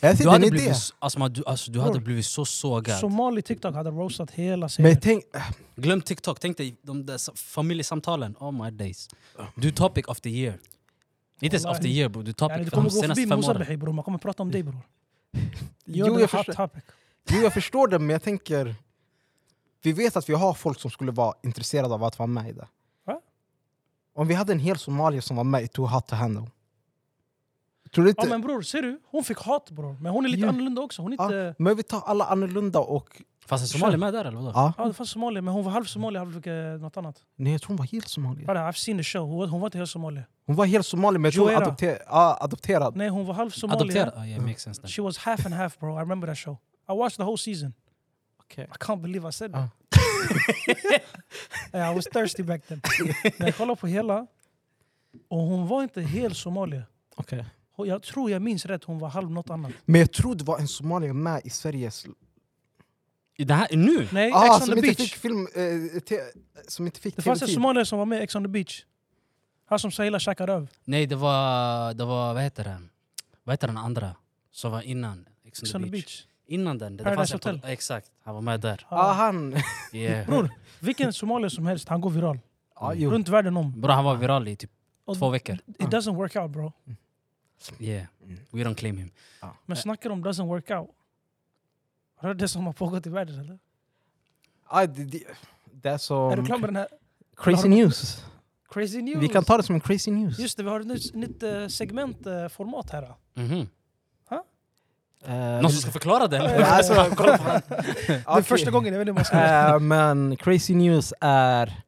[SPEAKER 1] Jag ser
[SPEAKER 3] Du
[SPEAKER 1] till en
[SPEAKER 3] hade,
[SPEAKER 1] idé.
[SPEAKER 3] blivit, så- alltså, man, du, alltså, du hade blivit så sågad.
[SPEAKER 2] Somali TikTok hade roastat hela
[SPEAKER 1] Men
[SPEAKER 2] serien.
[SPEAKER 1] tänk,
[SPEAKER 3] Glöm TikTok, tänk dig de där sa- familjesamtalen. Oh my days. Du är topic of the year. Inte ens of the
[SPEAKER 2] Wallahi.
[SPEAKER 3] year bror, du är topic
[SPEAKER 2] Yani, du
[SPEAKER 3] för de
[SPEAKER 2] kommer gå
[SPEAKER 3] senaste
[SPEAKER 2] förbi
[SPEAKER 3] fem åren.
[SPEAKER 2] Musabihi bror, man kommer prata om dig bror.
[SPEAKER 1] jo
[SPEAKER 2] Gör det
[SPEAKER 1] jag,
[SPEAKER 2] hot
[SPEAKER 1] förstår,
[SPEAKER 2] topic.
[SPEAKER 1] jo jag förstår det, men jag tänker... Vi vet att vi har folk som skulle vara intresserade av att vara med i det.
[SPEAKER 2] Va?
[SPEAKER 1] Om vi hade en hel somalier som var med i Too Hot To Handle. Tror du inte...
[SPEAKER 2] Ja men bror, ser du? Hon fick hat bror. Men hon är lite
[SPEAKER 1] Ja.
[SPEAKER 2] annorlunda också. Hon är
[SPEAKER 1] Ja,
[SPEAKER 2] inte...
[SPEAKER 1] men vi tar alla annorlunda och...
[SPEAKER 3] Fanns en somalier med där eller vadå?
[SPEAKER 1] Ja.
[SPEAKER 2] Ja, det fanns somalier, men hon var halv somalier, halv eh, något annat.
[SPEAKER 1] Nej, jag tror hon var helt somalier.
[SPEAKER 2] Bara, I've seen the show. Hon var- hon var inte helt somalier.
[SPEAKER 1] Hon var helt somalier, men jag tror hon
[SPEAKER 2] Joera.
[SPEAKER 1] adopter, ja, adopterad.
[SPEAKER 2] Nej, hon var halv somalier.
[SPEAKER 3] Adopterad? Ja, yeah, makes sense. then.
[SPEAKER 2] She was half and half, bro. I remember that show. I watched the whole season.
[SPEAKER 1] Okej.
[SPEAKER 2] I can't believe I said that.
[SPEAKER 1] Ah.
[SPEAKER 2] yeah, I was thirsty back then. Men jag kollade på hela. Och hon var inte helt somalier.
[SPEAKER 1] Okej.
[SPEAKER 2] Hon- Jag tror jag minns rätt, hon var halv något annat.
[SPEAKER 1] Men jag tror det var en somalier med i Sveriges...
[SPEAKER 3] I Det här, nu?
[SPEAKER 2] Nej,
[SPEAKER 1] Ah,
[SPEAKER 2] Ex on
[SPEAKER 1] som
[SPEAKER 2] the
[SPEAKER 1] inte
[SPEAKER 2] beach.
[SPEAKER 1] fick film... Eh, te, som inte fick
[SPEAKER 2] Det fanns en
[SPEAKER 1] TV-tid.
[SPEAKER 2] somalier som var med i Ex on the beach. Han som Sahila käkade röv.
[SPEAKER 3] Nej, det var, det var, vad heter den? Vad heter den andra? Som var innan? Ex
[SPEAKER 2] Ex on the beach.
[SPEAKER 3] Innan den. Det
[SPEAKER 2] Paradise
[SPEAKER 3] fanns en-
[SPEAKER 2] Hotel.
[SPEAKER 3] Exakt, han var med där.
[SPEAKER 2] Ja.
[SPEAKER 1] ah, han...
[SPEAKER 3] Yeah.
[SPEAKER 2] Bror, vilken somalier som helst, han går viral.
[SPEAKER 1] Ja, Ah, jo. Ah.
[SPEAKER 2] Runt världen om.
[SPEAKER 3] Bror, han var viral i typ
[SPEAKER 2] Och
[SPEAKER 3] två veckor.
[SPEAKER 2] It doesn't work out bro.
[SPEAKER 3] Yeah,
[SPEAKER 2] Mm.
[SPEAKER 3] we don't claim him.
[SPEAKER 2] Men snackar om doesn't work out. Har du hört det som har pågått i världen eller?
[SPEAKER 1] Ah, det, det, det är
[SPEAKER 2] Är du
[SPEAKER 1] som...
[SPEAKER 2] klar med den här
[SPEAKER 1] Crazy
[SPEAKER 2] Har-
[SPEAKER 1] news.
[SPEAKER 2] crazy news?
[SPEAKER 1] Vi kan ta det som en crazy news.
[SPEAKER 2] Just det, vi har ett nytt, nytt eh, segmentformat här. då.
[SPEAKER 3] Mhm.
[SPEAKER 1] Eh,
[SPEAKER 3] Någon som ska förklara det?
[SPEAKER 1] Ja,
[SPEAKER 3] eller?
[SPEAKER 1] alltså, kolla på den.
[SPEAKER 2] Det är
[SPEAKER 1] Okej.
[SPEAKER 2] första gången jag vet inte vad jag ska säga.
[SPEAKER 1] Eh, men crazy news är...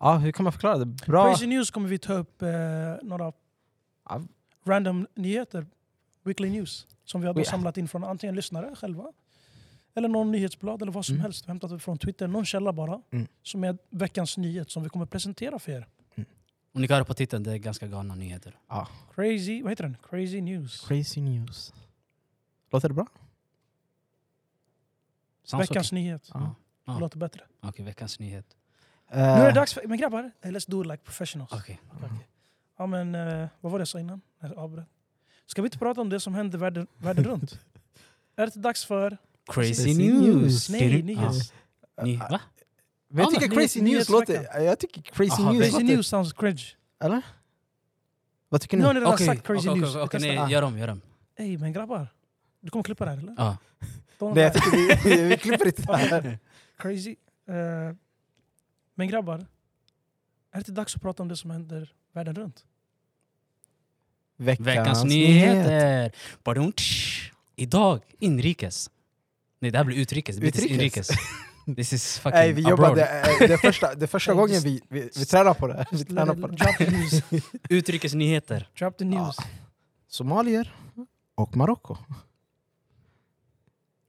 [SPEAKER 1] Ja, hur kan man förklara det? Bra.
[SPEAKER 2] Crazy news kommer vi ta upp eh, några
[SPEAKER 1] Ja.
[SPEAKER 2] random nyheter, weekly news, som vi har då
[SPEAKER 1] We-
[SPEAKER 2] samlat in från antingen lyssnare själva, eller någon nyhetsblad eller vad som
[SPEAKER 1] Mm.
[SPEAKER 2] helst. Vi har hämtat det från Twitter, någon källa bara,
[SPEAKER 1] Mm.
[SPEAKER 2] som är veckans nyhet som vi kommer presentera för er.
[SPEAKER 3] Om ni kan höra på titeln, det är ganska galna nyheter.
[SPEAKER 2] Crazy, vad heter den? Crazy news.
[SPEAKER 1] Crazy news. Låter det bra?
[SPEAKER 3] Sounds
[SPEAKER 2] Veckans nyhet.
[SPEAKER 1] Ja.
[SPEAKER 3] Ja.
[SPEAKER 2] Det låter bättre.
[SPEAKER 3] Okej, Okej, veckans nyhet.
[SPEAKER 1] Eh,
[SPEAKER 2] Nu är det dags för... Men grabbar, eh, let's do it like professionals.
[SPEAKER 3] Okej.
[SPEAKER 2] Mm. Ja, men eh, vad var det jag sa innan? Jag avbröt. Ska vi inte prata om det som händer världen, världen runt? Är det inte dags för...
[SPEAKER 3] Crazy
[SPEAKER 1] Crazy
[SPEAKER 3] news!
[SPEAKER 1] news.
[SPEAKER 2] Nej, nyhets.
[SPEAKER 3] Ja. Ny, va?
[SPEAKER 1] Men jag
[SPEAKER 3] Ja,
[SPEAKER 1] tycker
[SPEAKER 2] men-
[SPEAKER 1] crazy
[SPEAKER 2] Nyhets-
[SPEAKER 1] news låter... Jag tycker crazy
[SPEAKER 3] Aha,
[SPEAKER 1] news
[SPEAKER 2] Crazy
[SPEAKER 1] låter...
[SPEAKER 2] news sounds cringe.
[SPEAKER 1] Eller? Vad tycker
[SPEAKER 2] Nu
[SPEAKER 1] ni?
[SPEAKER 2] har ni redan
[SPEAKER 3] Okej,
[SPEAKER 2] sagt crazy
[SPEAKER 3] okej,
[SPEAKER 2] news.
[SPEAKER 3] okej, okej,
[SPEAKER 2] Vi testar.
[SPEAKER 3] nej, gör om, gör om.
[SPEAKER 2] Ey, men grabbar. Du kommer klippa det här eller?
[SPEAKER 3] Ja.
[SPEAKER 2] Don't
[SPEAKER 1] Nej, jag
[SPEAKER 2] lie.
[SPEAKER 1] tycker vi, vi klipper inte det här.
[SPEAKER 2] Crazy. Eh, men grabbar. Är det inte dags att prata om det som händer världen runt?
[SPEAKER 1] Veckans,
[SPEAKER 3] Veckans
[SPEAKER 1] nyhet.
[SPEAKER 3] nyheter! Badum, tsch. Idag, inrikes. Nej, det här blir utrikes. Det blir inte
[SPEAKER 1] Utrikes?
[SPEAKER 3] inrikes. This is fucking
[SPEAKER 1] Nej, vi jobbar,
[SPEAKER 3] abroad.
[SPEAKER 1] det, är- det är första, det är första
[SPEAKER 2] Ey,
[SPEAKER 1] gången
[SPEAKER 2] just-
[SPEAKER 1] vi, vi, vi tränar på det. Vi tränar på det.
[SPEAKER 2] Drop the news.
[SPEAKER 3] Utrikesnyheter.
[SPEAKER 2] Drop the news.
[SPEAKER 1] Somalier och Marocko.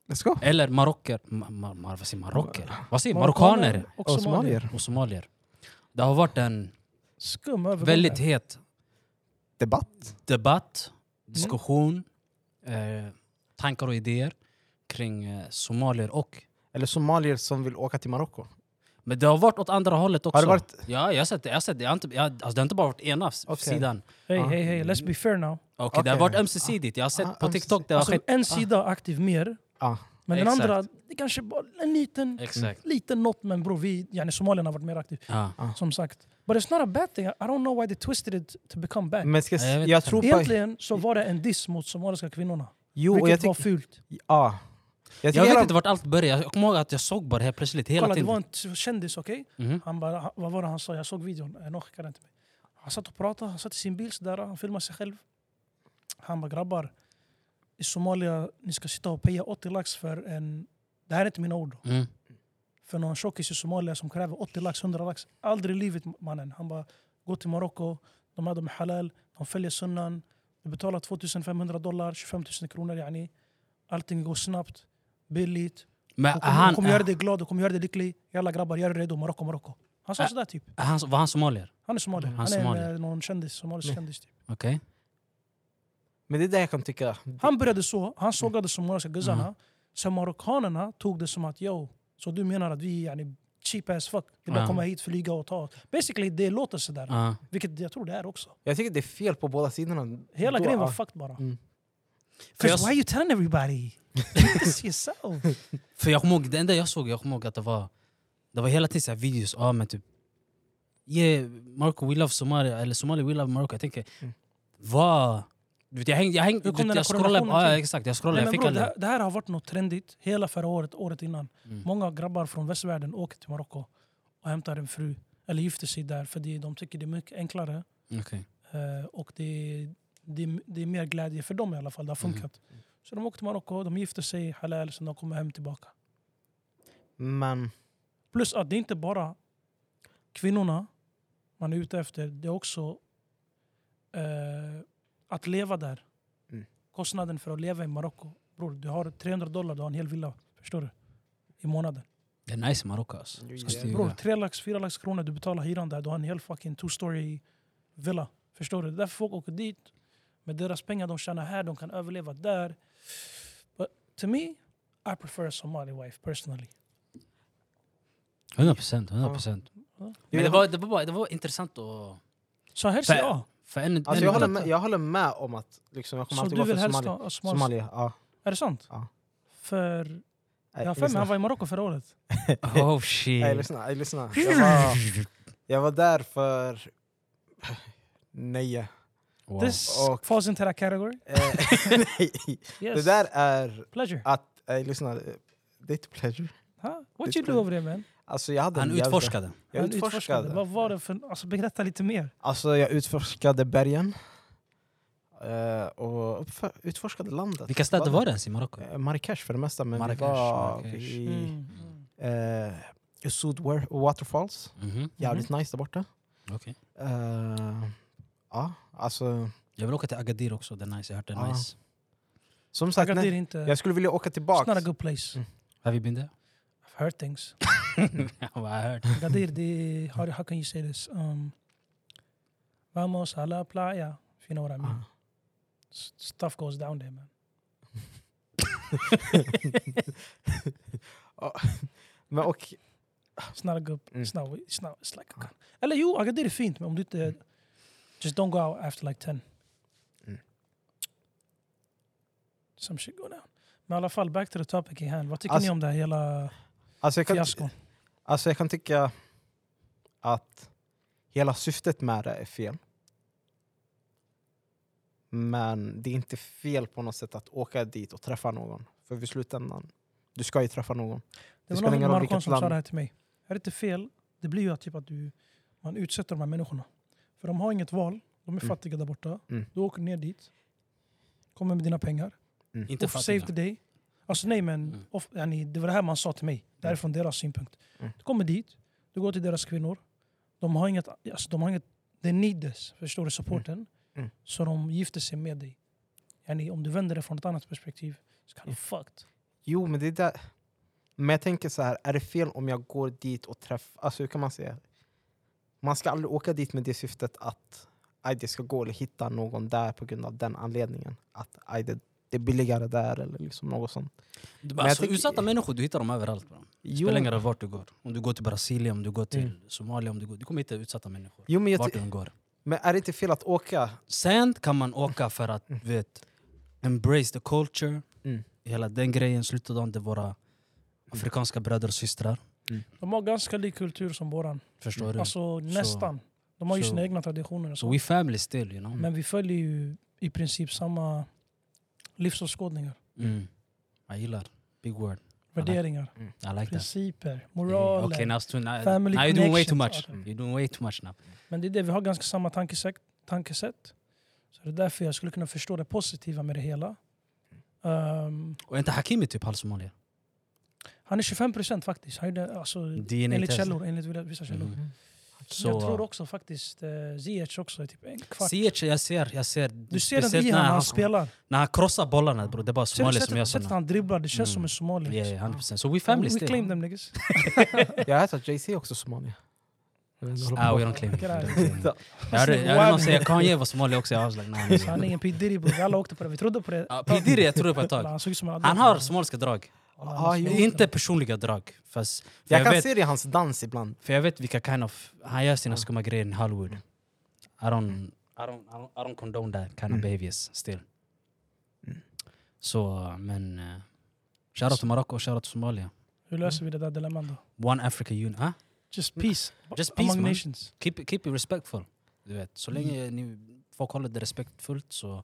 [SPEAKER 1] Let's go.
[SPEAKER 3] Eller marocker. Ma, ma, ma, vad säger marocker? Vad säger
[SPEAKER 2] Marockaner
[SPEAKER 3] marockaner?
[SPEAKER 2] Och
[SPEAKER 1] Och
[SPEAKER 2] somalier.
[SPEAKER 1] somalier.
[SPEAKER 3] Och somalier. Det har varit en
[SPEAKER 2] Skum övergång.
[SPEAKER 3] Väldigt het
[SPEAKER 1] Debatt?
[SPEAKER 3] debatt, diskussion, eh, tankar och idéer kring eh, somalier och...
[SPEAKER 1] Eller somalier som vill åka till Marocko?
[SPEAKER 3] Men det har varit åt andra hållet också.
[SPEAKER 1] Har det varit...
[SPEAKER 3] Ja, jag har sett det. Jag har sett det. Jag har inte, jag, alltså, det har inte bara varit ena s-
[SPEAKER 1] Okej.
[SPEAKER 3] sidan.
[SPEAKER 2] Hej,
[SPEAKER 1] Ja.
[SPEAKER 2] hej, hej. Let's be fair now.
[SPEAKER 3] Okej, Det har
[SPEAKER 1] Okej.
[SPEAKER 3] varit ömsesidigt. Jag har sett
[SPEAKER 1] Ah,
[SPEAKER 3] på
[SPEAKER 1] ömsesidigt.
[SPEAKER 3] TikTok det har
[SPEAKER 2] Alltså,
[SPEAKER 3] skett...
[SPEAKER 1] ah.
[SPEAKER 2] en sida aktiv mer,
[SPEAKER 1] Ja.
[SPEAKER 2] men den
[SPEAKER 3] Exakt.
[SPEAKER 2] andra, det kanske bara en liten,
[SPEAKER 3] Exakt.
[SPEAKER 2] liten något. Men bror, vi, yani somalierna har varit mer aktiva.
[SPEAKER 3] Ja.
[SPEAKER 2] Som sagt. But it's not a bad thing. I don't know why they twisted it to become bad.
[SPEAKER 1] Men ska, s-
[SPEAKER 3] Ja, jag vet
[SPEAKER 1] jag,
[SPEAKER 3] inte.
[SPEAKER 1] tror på...
[SPEAKER 2] Egentligen så var det en diss mot somaliska kvinnorna.
[SPEAKER 1] Jo, och
[SPEAKER 2] vilket
[SPEAKER 1] jag
[SPEAKER 2] var
[SPEAKER 1] tycker...
[SPEAKER 2] fult.
[SPEAKER 1] Ja. Jag
[SPEAKER 3] Jag
[SPEAKER 1] tycker
[SPEAKER 3] vet
[SPEAKER 1] de-
[SPEAKER 3] inte vart allt började. Jag kommer ihåg att jag såg bara det här plötsligt hela
[SPEAKER 2] Kolla, det var
[SPEAKER 3] tiden.
[SPEAKER 2] en t- kändis, okej?
[SPEAKER 3] Mhm.
[SPEAKER 2] Han bara, han- vad var det han sa? Jag såg videon. Eh, Någon skickade den till mig. Han satt och pratade, han satt i sin bil sådär, han filmade sig själv. Han bara, grabbar. I Somalia, ni ska sitta och paya 80 lax för en... Det här är inte mina ord.
[SPEAKER 3] Mm.
[SPEAKER 2] För någon tjockis i Somalia som kräver 80 lax, 100 lax. Aldrig i livet mannen. Han bara, gå till Marocko, de här de är halal, de följer sunnan. Du betalar 2500 dollar, 25 000 kronor yani. Allting går snabbt, billigt.
[SPEAKER 3] Men
[SPEAKER 2] De kommer, de
[SPEAKER 3] han,
[SPEAKER 2] kommer göra dig glad, de kommer göra dig lycklig. Jalla grabbar, gör er redo, Marocko, Marocko. Han sa
[SPEAKER 3] Ah.
[SPEAKER 2] sådär typ.
[SPEAKER 3] han, var han somalier?
[SPEAKER 2] Han är somalier.
[SPEAKER 3] Han
[SPEAKER 2] Han,
[SPEAKER 3] är
[SPEAKER 2] är en,
[SPEAKER 3] somalier.
[SPEAKER 2] eh, någon kändis, somalisk
[SPEAKER 1] Nej.
[SPEAKER 2] kändis. Typ.
[SPEAKER 3] Okej.
[SPEAKER 1] Men det är det jag kan tycka.
[SPEAKER 2] Han började så, han sågade somaliska guzzarna.
[SPEAKER 3] Mm.
[SPEAKER 2] Sen marockanerna tog det som att yo, så du menar att vi är yani, cheap as fuck. Det är bara
[SPEAKER 3] Ja.
[SPEAKER 2] att komma hit, flyga och ta. Basically det låter sådär.
[SPEAKER 3] Ja.
[SPEAKER 2] Vilket jag tror det är också.
[SPEAKER 1] Jag tycker det är fel på båda sidorna.
[SPEAKER 2] Hela
[SPEAKER 1] Då-
[SPEAKER 2] grejen var
[SPEAKER 1] ja.
[SPEAKER 2] fucked bara.
[SPEAKER 1] Mm.
[SPEAKER 3] För jag
[SPEAKER 2] Cause why are you telling everybody? It's yourself.
[SPEAKER 3] För jag kommer ihåg, det enda jag såg, jag kommer ihåg att det var, det var hela tiden så här videos, ja men typ Yeah, Marco we love Somalia, eller Somalia we love Marco. Jag tänker,
[SPEAKER 1] Mm.
[SPEAKER 3] vad... Du vet, jag hängde, jag hängde,
[SPEAKER 2] Hur
[SPEAKER 3] du
[SPEAKER 2] kom
[SPEAKER 3] vet,
[SPEAKER 2] den
[SPEAKER 3] jag
[SPEAKER 2] här
[SPEAKER 3] scrollade,
[SPEAKER 2] korrelationen
[SPEAKER 3] ja,
[SPEAKER 2] till?
[SPEAKER 3] exakt, jag
[SPEAKER 2] Nej,
[SPEAKER 3] scrollade, jag
[SPEAKER 2] men
[SPEAKER 3] fick
[SPEAKER 2] bro,
[SPEAKER 3] aldrig...
[SPEAKER 2] det, här, det här har varit något trendigt hela förra året, året innan.
[SPEAKER 3] Mm.
[SPEAKER 2] Många grabbar från västvärlden åker till Marocko och hämtar en fru. Eller gifter sig där för det- de tycker det är mycket enklare.
[SPEAKER 3] Okej.
[SPEAKER 2] Eh, och det, det, det är mer glädje för dem i alla fall. Det har
[SPEAKER 3] Mhm.
[SPEAKER 2] funkat. Så de åker till Marocko, de gifter sig halal, sen de kommer hem tillbaka.
[SPEAKER 1] Men...
[SPEAKER 2] Plus att det är inte bara kvinnorna man är ute efter. Det är också eh, att leva där.
[SPEAKER 1] Mm.
[SPEAKER 2] Kostnaden för att leva i Marocko. Bror, du har 300 dollar, du har en hel villa. Förstår du? I månaden.
[SPEAKER 3] Det är nice i Marocko alltså.
[SPEAKER 1] Jo,
[SPEAKER 3] Fast det är ju
[SPEAKER 2] Bror,
[SPEAKER 3] det.
[SPEAKER 2] 3 lax, 4 lax kronor, du betalar hyran där. Du har en hel fucking two-story villa. Förstår du? Det är därför folk åker dit. Med deras pengar de tjänar här, de kan överleva där. But to me, I prefer a Somali wife personally.
[SPEAKER 3] 100 procent, 100 procent.
[SPEAKER 2] Ja.
[SPEAKER 3] Men det var, det, var bara, det var intressant att...
[SPEAKER 2] Så helst
[SPEAKER 3] För-
[SPEAKER 2] ja.
[SPEAKER 3] För en,
[SPEAKER 1] Alltså
[SPEAKER 3] en,
[SPEAKER 1] jag, håller med, jag håller med om att liksom, jag kommer
[SPEAKER 2] Så
[SPEAKER 1] alltid
[SPEAKER 2] du
[SPEAKER 1] gå för
[SPEAKER 2] vill helst
[SPEAKER 1] Somalia.
[SPEAKER 2] ha somalisk
[SPEAKER 1] Somalia ja.
[SPEAKER 2] Är det sant?
[SPEAKER 1] Ja.
[SPEAKER 2] För
[SPEAKER 1] Nej,
[SPEAKER 2] jag har för mig
[SPEAKER 1] lyssna.
[SPEAKER 2] han var i Marocko förra året.
[SPEAKER 3] Oh
[SPEAKER 1] Nej,
[SPEAKER 3] shit.
[SPEAKER 1] lyssna. Nej, lyssna. Jag,
[SPEAKER 2] Mm.
[SPEAKER 1] var, jag var där för... Nej.
[SPEAKER 3] Wow.
[SPEAKER 2] This
[SPEAKER 1] Och-
[SPEAKER 2] falls into that category.
[SPEAKER 1] Eh, nej.
[SPEAKER 2] Yes.
[SPEAKER 1] Det där är
[SPEAKER 2] Pleasure.
[SPEAKER 1] att... Nej, lyssna. eh, Det är inte pleasure.
[SPEAKER 2] Huh?
[SPEAKER 1] This
[SPEAKER 2] What you do
[SPEAKER 1] pleasure.
[SPEAKER 2] over there man?
[SPEAKER 1] Alltså jag hade
[SPEAKER 3] Han
[SPEAKER 1] en jävla-
[SPEAKER 3] utforskade.
[SPEAKER 1] Jag
[SPEAKER 2] Han
[SPEAKER 1] utforskade.
[SPEAKER 2] Vad var det för... Alltså berätta lite mer.
[SPEAKER 1] Alltså jag utforskade bergen. eh, Och uppför- utforskade landet.
[SPEAKER 3] Vilka städer var det ens i Marocko?
[SPEAKER 1] Eh, Marrakesh för det mesta, men
[SPEAKER 3] Marrakesh,
[SPEAKER 1] vi var
[SPEAKER 3] Marrakesh.
[SPEAKER 1] i
[SPEAKER 2] Mm.
[SPEAKER 1] eh, Sud Wa- Waterfalls.
[SPEAKER 3] Mhm,
[SPEAKER 1] Jävligt
[SPEAKER 2] Mm.
[SPEAKER 1] nice där borta.
[SPEAKER 3] okej.
[SPEAKER 1] Eh, ja, alltså...
[SPEAKER 3] Jag vill åka till Agadir också, det är nice. Jag har hört det är
[SPEAKER 1] Ah.
[SPEAKER 3] nice.
[SPEAKER 1] Som sagt,
[SPEAKER 2] Agadir är
[SPEAKER 1] nej,
[SPEAKER 2] inte...
[SPEAKER 1] jag Mm. skulle vilja åka
[SPEAKER 2] It's not a
[SPEAKER 1] tillbaka.
[SPEAKER 2] good place.
[SPEAKER 3] Have you been there?
[SPEAKER 2] I've heard things.
[SPEAKER 3] Well, I heard.
[SPEAKER 2] Gadir, the how, how can you say this? Um, vamos a la playa. If you know what I mean.
[SPEAKER 1] Ah.
[SPEAKER 2] S- stuff goes down there, man.
[SPEAKER 1] Men och,
[SPEAKER 2] It's not a good.
[SPEAKER 1] Mm. Ah.
[SPEAKER 2] It's not. It's not. It's like. A, con- eller jo, Agadir är fint, men om du inte... Just don't go out after like 10.
[SPEAKER 1] Mm.
[SPEAKER 2] Some shit go down. Men i alla fall, back to the topic i hand. Vad tycker
[SPEAKER 1] Alltså-
[SPEAKER 2] ni om det här hela
[SPEAKER 1] alltså, jag kan,
[SPEAKER 2] fiaskon?
[SPEAKER 1] alltså jag kan tycka att hela syftet med det är fel. Men det är inte fel på något sätt att åka dit och träffa någon. För vid slutändan, du ska ju träffa någon.
[SPEAKER 2] Det
[SPEAKER 1] spelar
[SPEAKER 2] var
[SPEAKER 1] ingen roll
[SPEAKER 2] någon marockan
[SPEAKER 1] vilket
[SPEAKER 2] som sa
[SPEAKER 1] land.
[SPEAKER 2] det här till mig. Är det inte fel? Det blir ju att, typ att du, man utsätter de här människorna. För de har inget val. De är
[SPEAKER 1] Mm.
[SPEAKER 2] fattiga där borta.
[SPEAKER 1] Mm.
[SPEAKER 2] Du åker ner dit. Kommer med dina pengar.
[SPEAKER 3] Inte
[SPEAKER 2] Off save
[SPEAKER 3] fattiga.
[SPEAKER 2] the day. Alltså nej men,
[SPEAKER 3] Mm.
[SPEAKER 2] off, yani, det var det här man sa till mig. Det här är från deras synpunkt.
[SPEAKER 1] Mm.
[SPEAKER 2] Du kommer dit, du går till deras kvinnor. De har inget, alltså, de har inget, they need this, förstår du, supporten.
[SPEAKER 1] Mm.
[SPEAKER 2] Så de gifter sig med dig. Yani, om du vänder det från ett annat perspektiv, så kan du
[SPEAKER 1] Mm.
[SPEAKER 2] fucked.
[SPEAKER 1] Jo, men det är där. Men jag tänker så här, är det fel om jag går dit och träffar... Alltså hur kan man säga? Man ska aldrig åka dit med det syftet att aj, det ska gå eller hitta någon där på grund av den anledningen. Att aj, det, det är billigare där eller liksom något sånt.
[SPEAKER 3] Du,
[SPEAKER 1] jag
[SPEAKER 3] alltså,
[SPEAKER 1] tycker-
[SPEAKER 3] Utsatta människor, du hittar dem överallt. Bro.
[SPEAKER 1] Jo,
[SPEAKER 3] Spelar ingen roll vart du går. Om du går till Brasilien, om du går till
[SPEAKER 1] Mm.
[SPEAKER 3] Somalia, om du, går, du kommer hitta utsatta människor.
[SPEAKER 1] jo men, jag
[SPEAKER 3] Vart
[SPEAKER 1] ty-
[SPEAKER 3] du än går.
[SPEAKER 1] men är det inte fel att åka?
[SPEAKER 3] Sen kan man åka för att du vet, embrace the culture.
[SPEAKER 1] Mm.
[SPEAKER 3] Hela den grejen, sluta dagen till våra afrikanska bröder och systrar.
[SPEAKER 2] De har ganska lik kultur som våran.
[SPEAKER 3] Förstår
[SPEAKER 1] Mm.
[SPEAKER 3] du?
[SPEAKER 2] Alltså nästan. De har ju
[SPEAKER 3] så-
[SPEAKER 2] sina egna traditioner och
[SPEAKER 3] so
[SPEAKER 2] så.
[SPEAKER 3] we family still, you know.
[SPEAKER 2] Men vi följer ju i princip samma livsåskådningar,
[SPEAKER 3] Mm. Jag gillar. Big word.
[SPEAKER 2] värderingar,
[SPEAKER 3] I like that.
[SPEAKER 2] principer,
[SPEAKER 3] Hey,
[SPEAKER 2] moraler.
[SPEAKER 3] okay, now, it's too, now,
[SPEAKER 2] Family
[SPEAKER 3] now you're doing way too much.
[SPEAKER 2] connections.
[SPEAKER 3] You're doing way too much now.
[SPEAKER 2] Men det är det, vi har ganska samma tankesätt. tankesätt. Så det är därför jag skulle kunna förstå det positiva med det hela. Ehm,
[SPEAKER 3] Och inte Hakimi typ halv somalier.
[SPEAKER 2] han är 25 procent faktiskt. Han gjorde, alltså,
[SPEAKER 3] DNA
[SPEAKER 2] enligt
[SPEAKER 3] Mm. test.
[SPEAKER 2] källor, enligt vissa källor.
[SPEAKER 3] Mm. Så,
[SPEAKER 2] jag tror också faktiskt eh, Ziyech också är typ en kvart.
[SPEAKER 3] Ziyech, jag ser, jag ser.
[SPEAKER 2] du ser den
[SPEAKER 3] speciellt när
[SPEAKER 2] i honom när han
[SPEAKER 3] han-
[SPEAKER 2] spelar.
[SPEAKER 3] När han krossar bollarna bro, det är bara
[SPEAKER 2] Ser du
[SPEAKER 3] somalier som gör
[SPEAKER 2] sättet, sättet
[SPEAKER 3] sådana.
[SPEAKER 2] han dribblar? Det känns
[SPEAKER 3] Mm.
[SPEAKER 2] som en somalier.
[SPEAKER 3] Yeah, yeah, 100%. So we family
[SPEAKER 2] we, we claim
[SPEAKER 3] still.
[SPEAKER 2] them niggas.
[SPEAKER 1] Jag har hört att JC är också somalier. Jag vet inte,
[SPEAKER 3] Ah,
[SPEAKER 1] håller
[SPEAKER 3] we
[SPEAKER 1] på.
[SPEAKER 3] don't claim. it, we
[SPEAKER 2] Get out
[SPEAKER 3] don't
[SPEAKER 2] of
[SPEAKER 3] claim it.
[SPEAKER 2] Alltså,
[SPEAKER 3] Jag hörde jag hörde någon säga Kanye var somalier också. Jag var like, Ah, nah,
[SPEAKER 2] Så han är
[SPEAKER 3] nej.
[SPEAKER 2] ingen P Diddy bror. Vi alla åkte på det. Vi trodde på det.
[SPEAKER 3] Ja, P Diddy, jag trodde på ett
[SPEAKER 2] Eller,
[SPEAKER 3] tag.
[SPEAKER 2] Han såg ut som en
[SPEAKER 3] Han har somaliska drag.
[SPEAKER 1] Ah, jo.
[SPEAKER 3] Inte personliga drag. Fast, för,
[SPEAKER 1] Jag
[SPEAKER 3] jag
[SPEAKER 1] kan
[SPEAKER 3] vet,
[SPEAKER 1] se det i hans dans ibland.
[SPEAKER 3] för jag vet vilka kind of... Han gör sina
[SPEAKER 1] Mm.
[SPEAKER 3] skumma grejer i Hollywood. I don't, I don't, I don't, I don't condone that kind
[SPEAKER 1] Mm.
[SPEAKER 3] of behaviors still.
[SPEAKER 1] Mm.
[SPEAKER 3] Så, men... eh, Shoutout till Marocko och shoutout till Somalia.
[SPEAKER 2] Hur löser vi det där dilemmat då?
[SPEAKER 3] One Africa Union. Ah?
[SPEAKER 2] Just peace.
[SPEAKER 3] Just peace,
[SPEAKER 2] Among
[SPEAKER 3] man.
[SPEAKER 2] nations.
[SPEAKER 3] Keep, it- keep it respectful. Du vet, så
[SPEAKER 1] Mm.
[SPEAKER 3] länge ni, folk håller det respektfullt så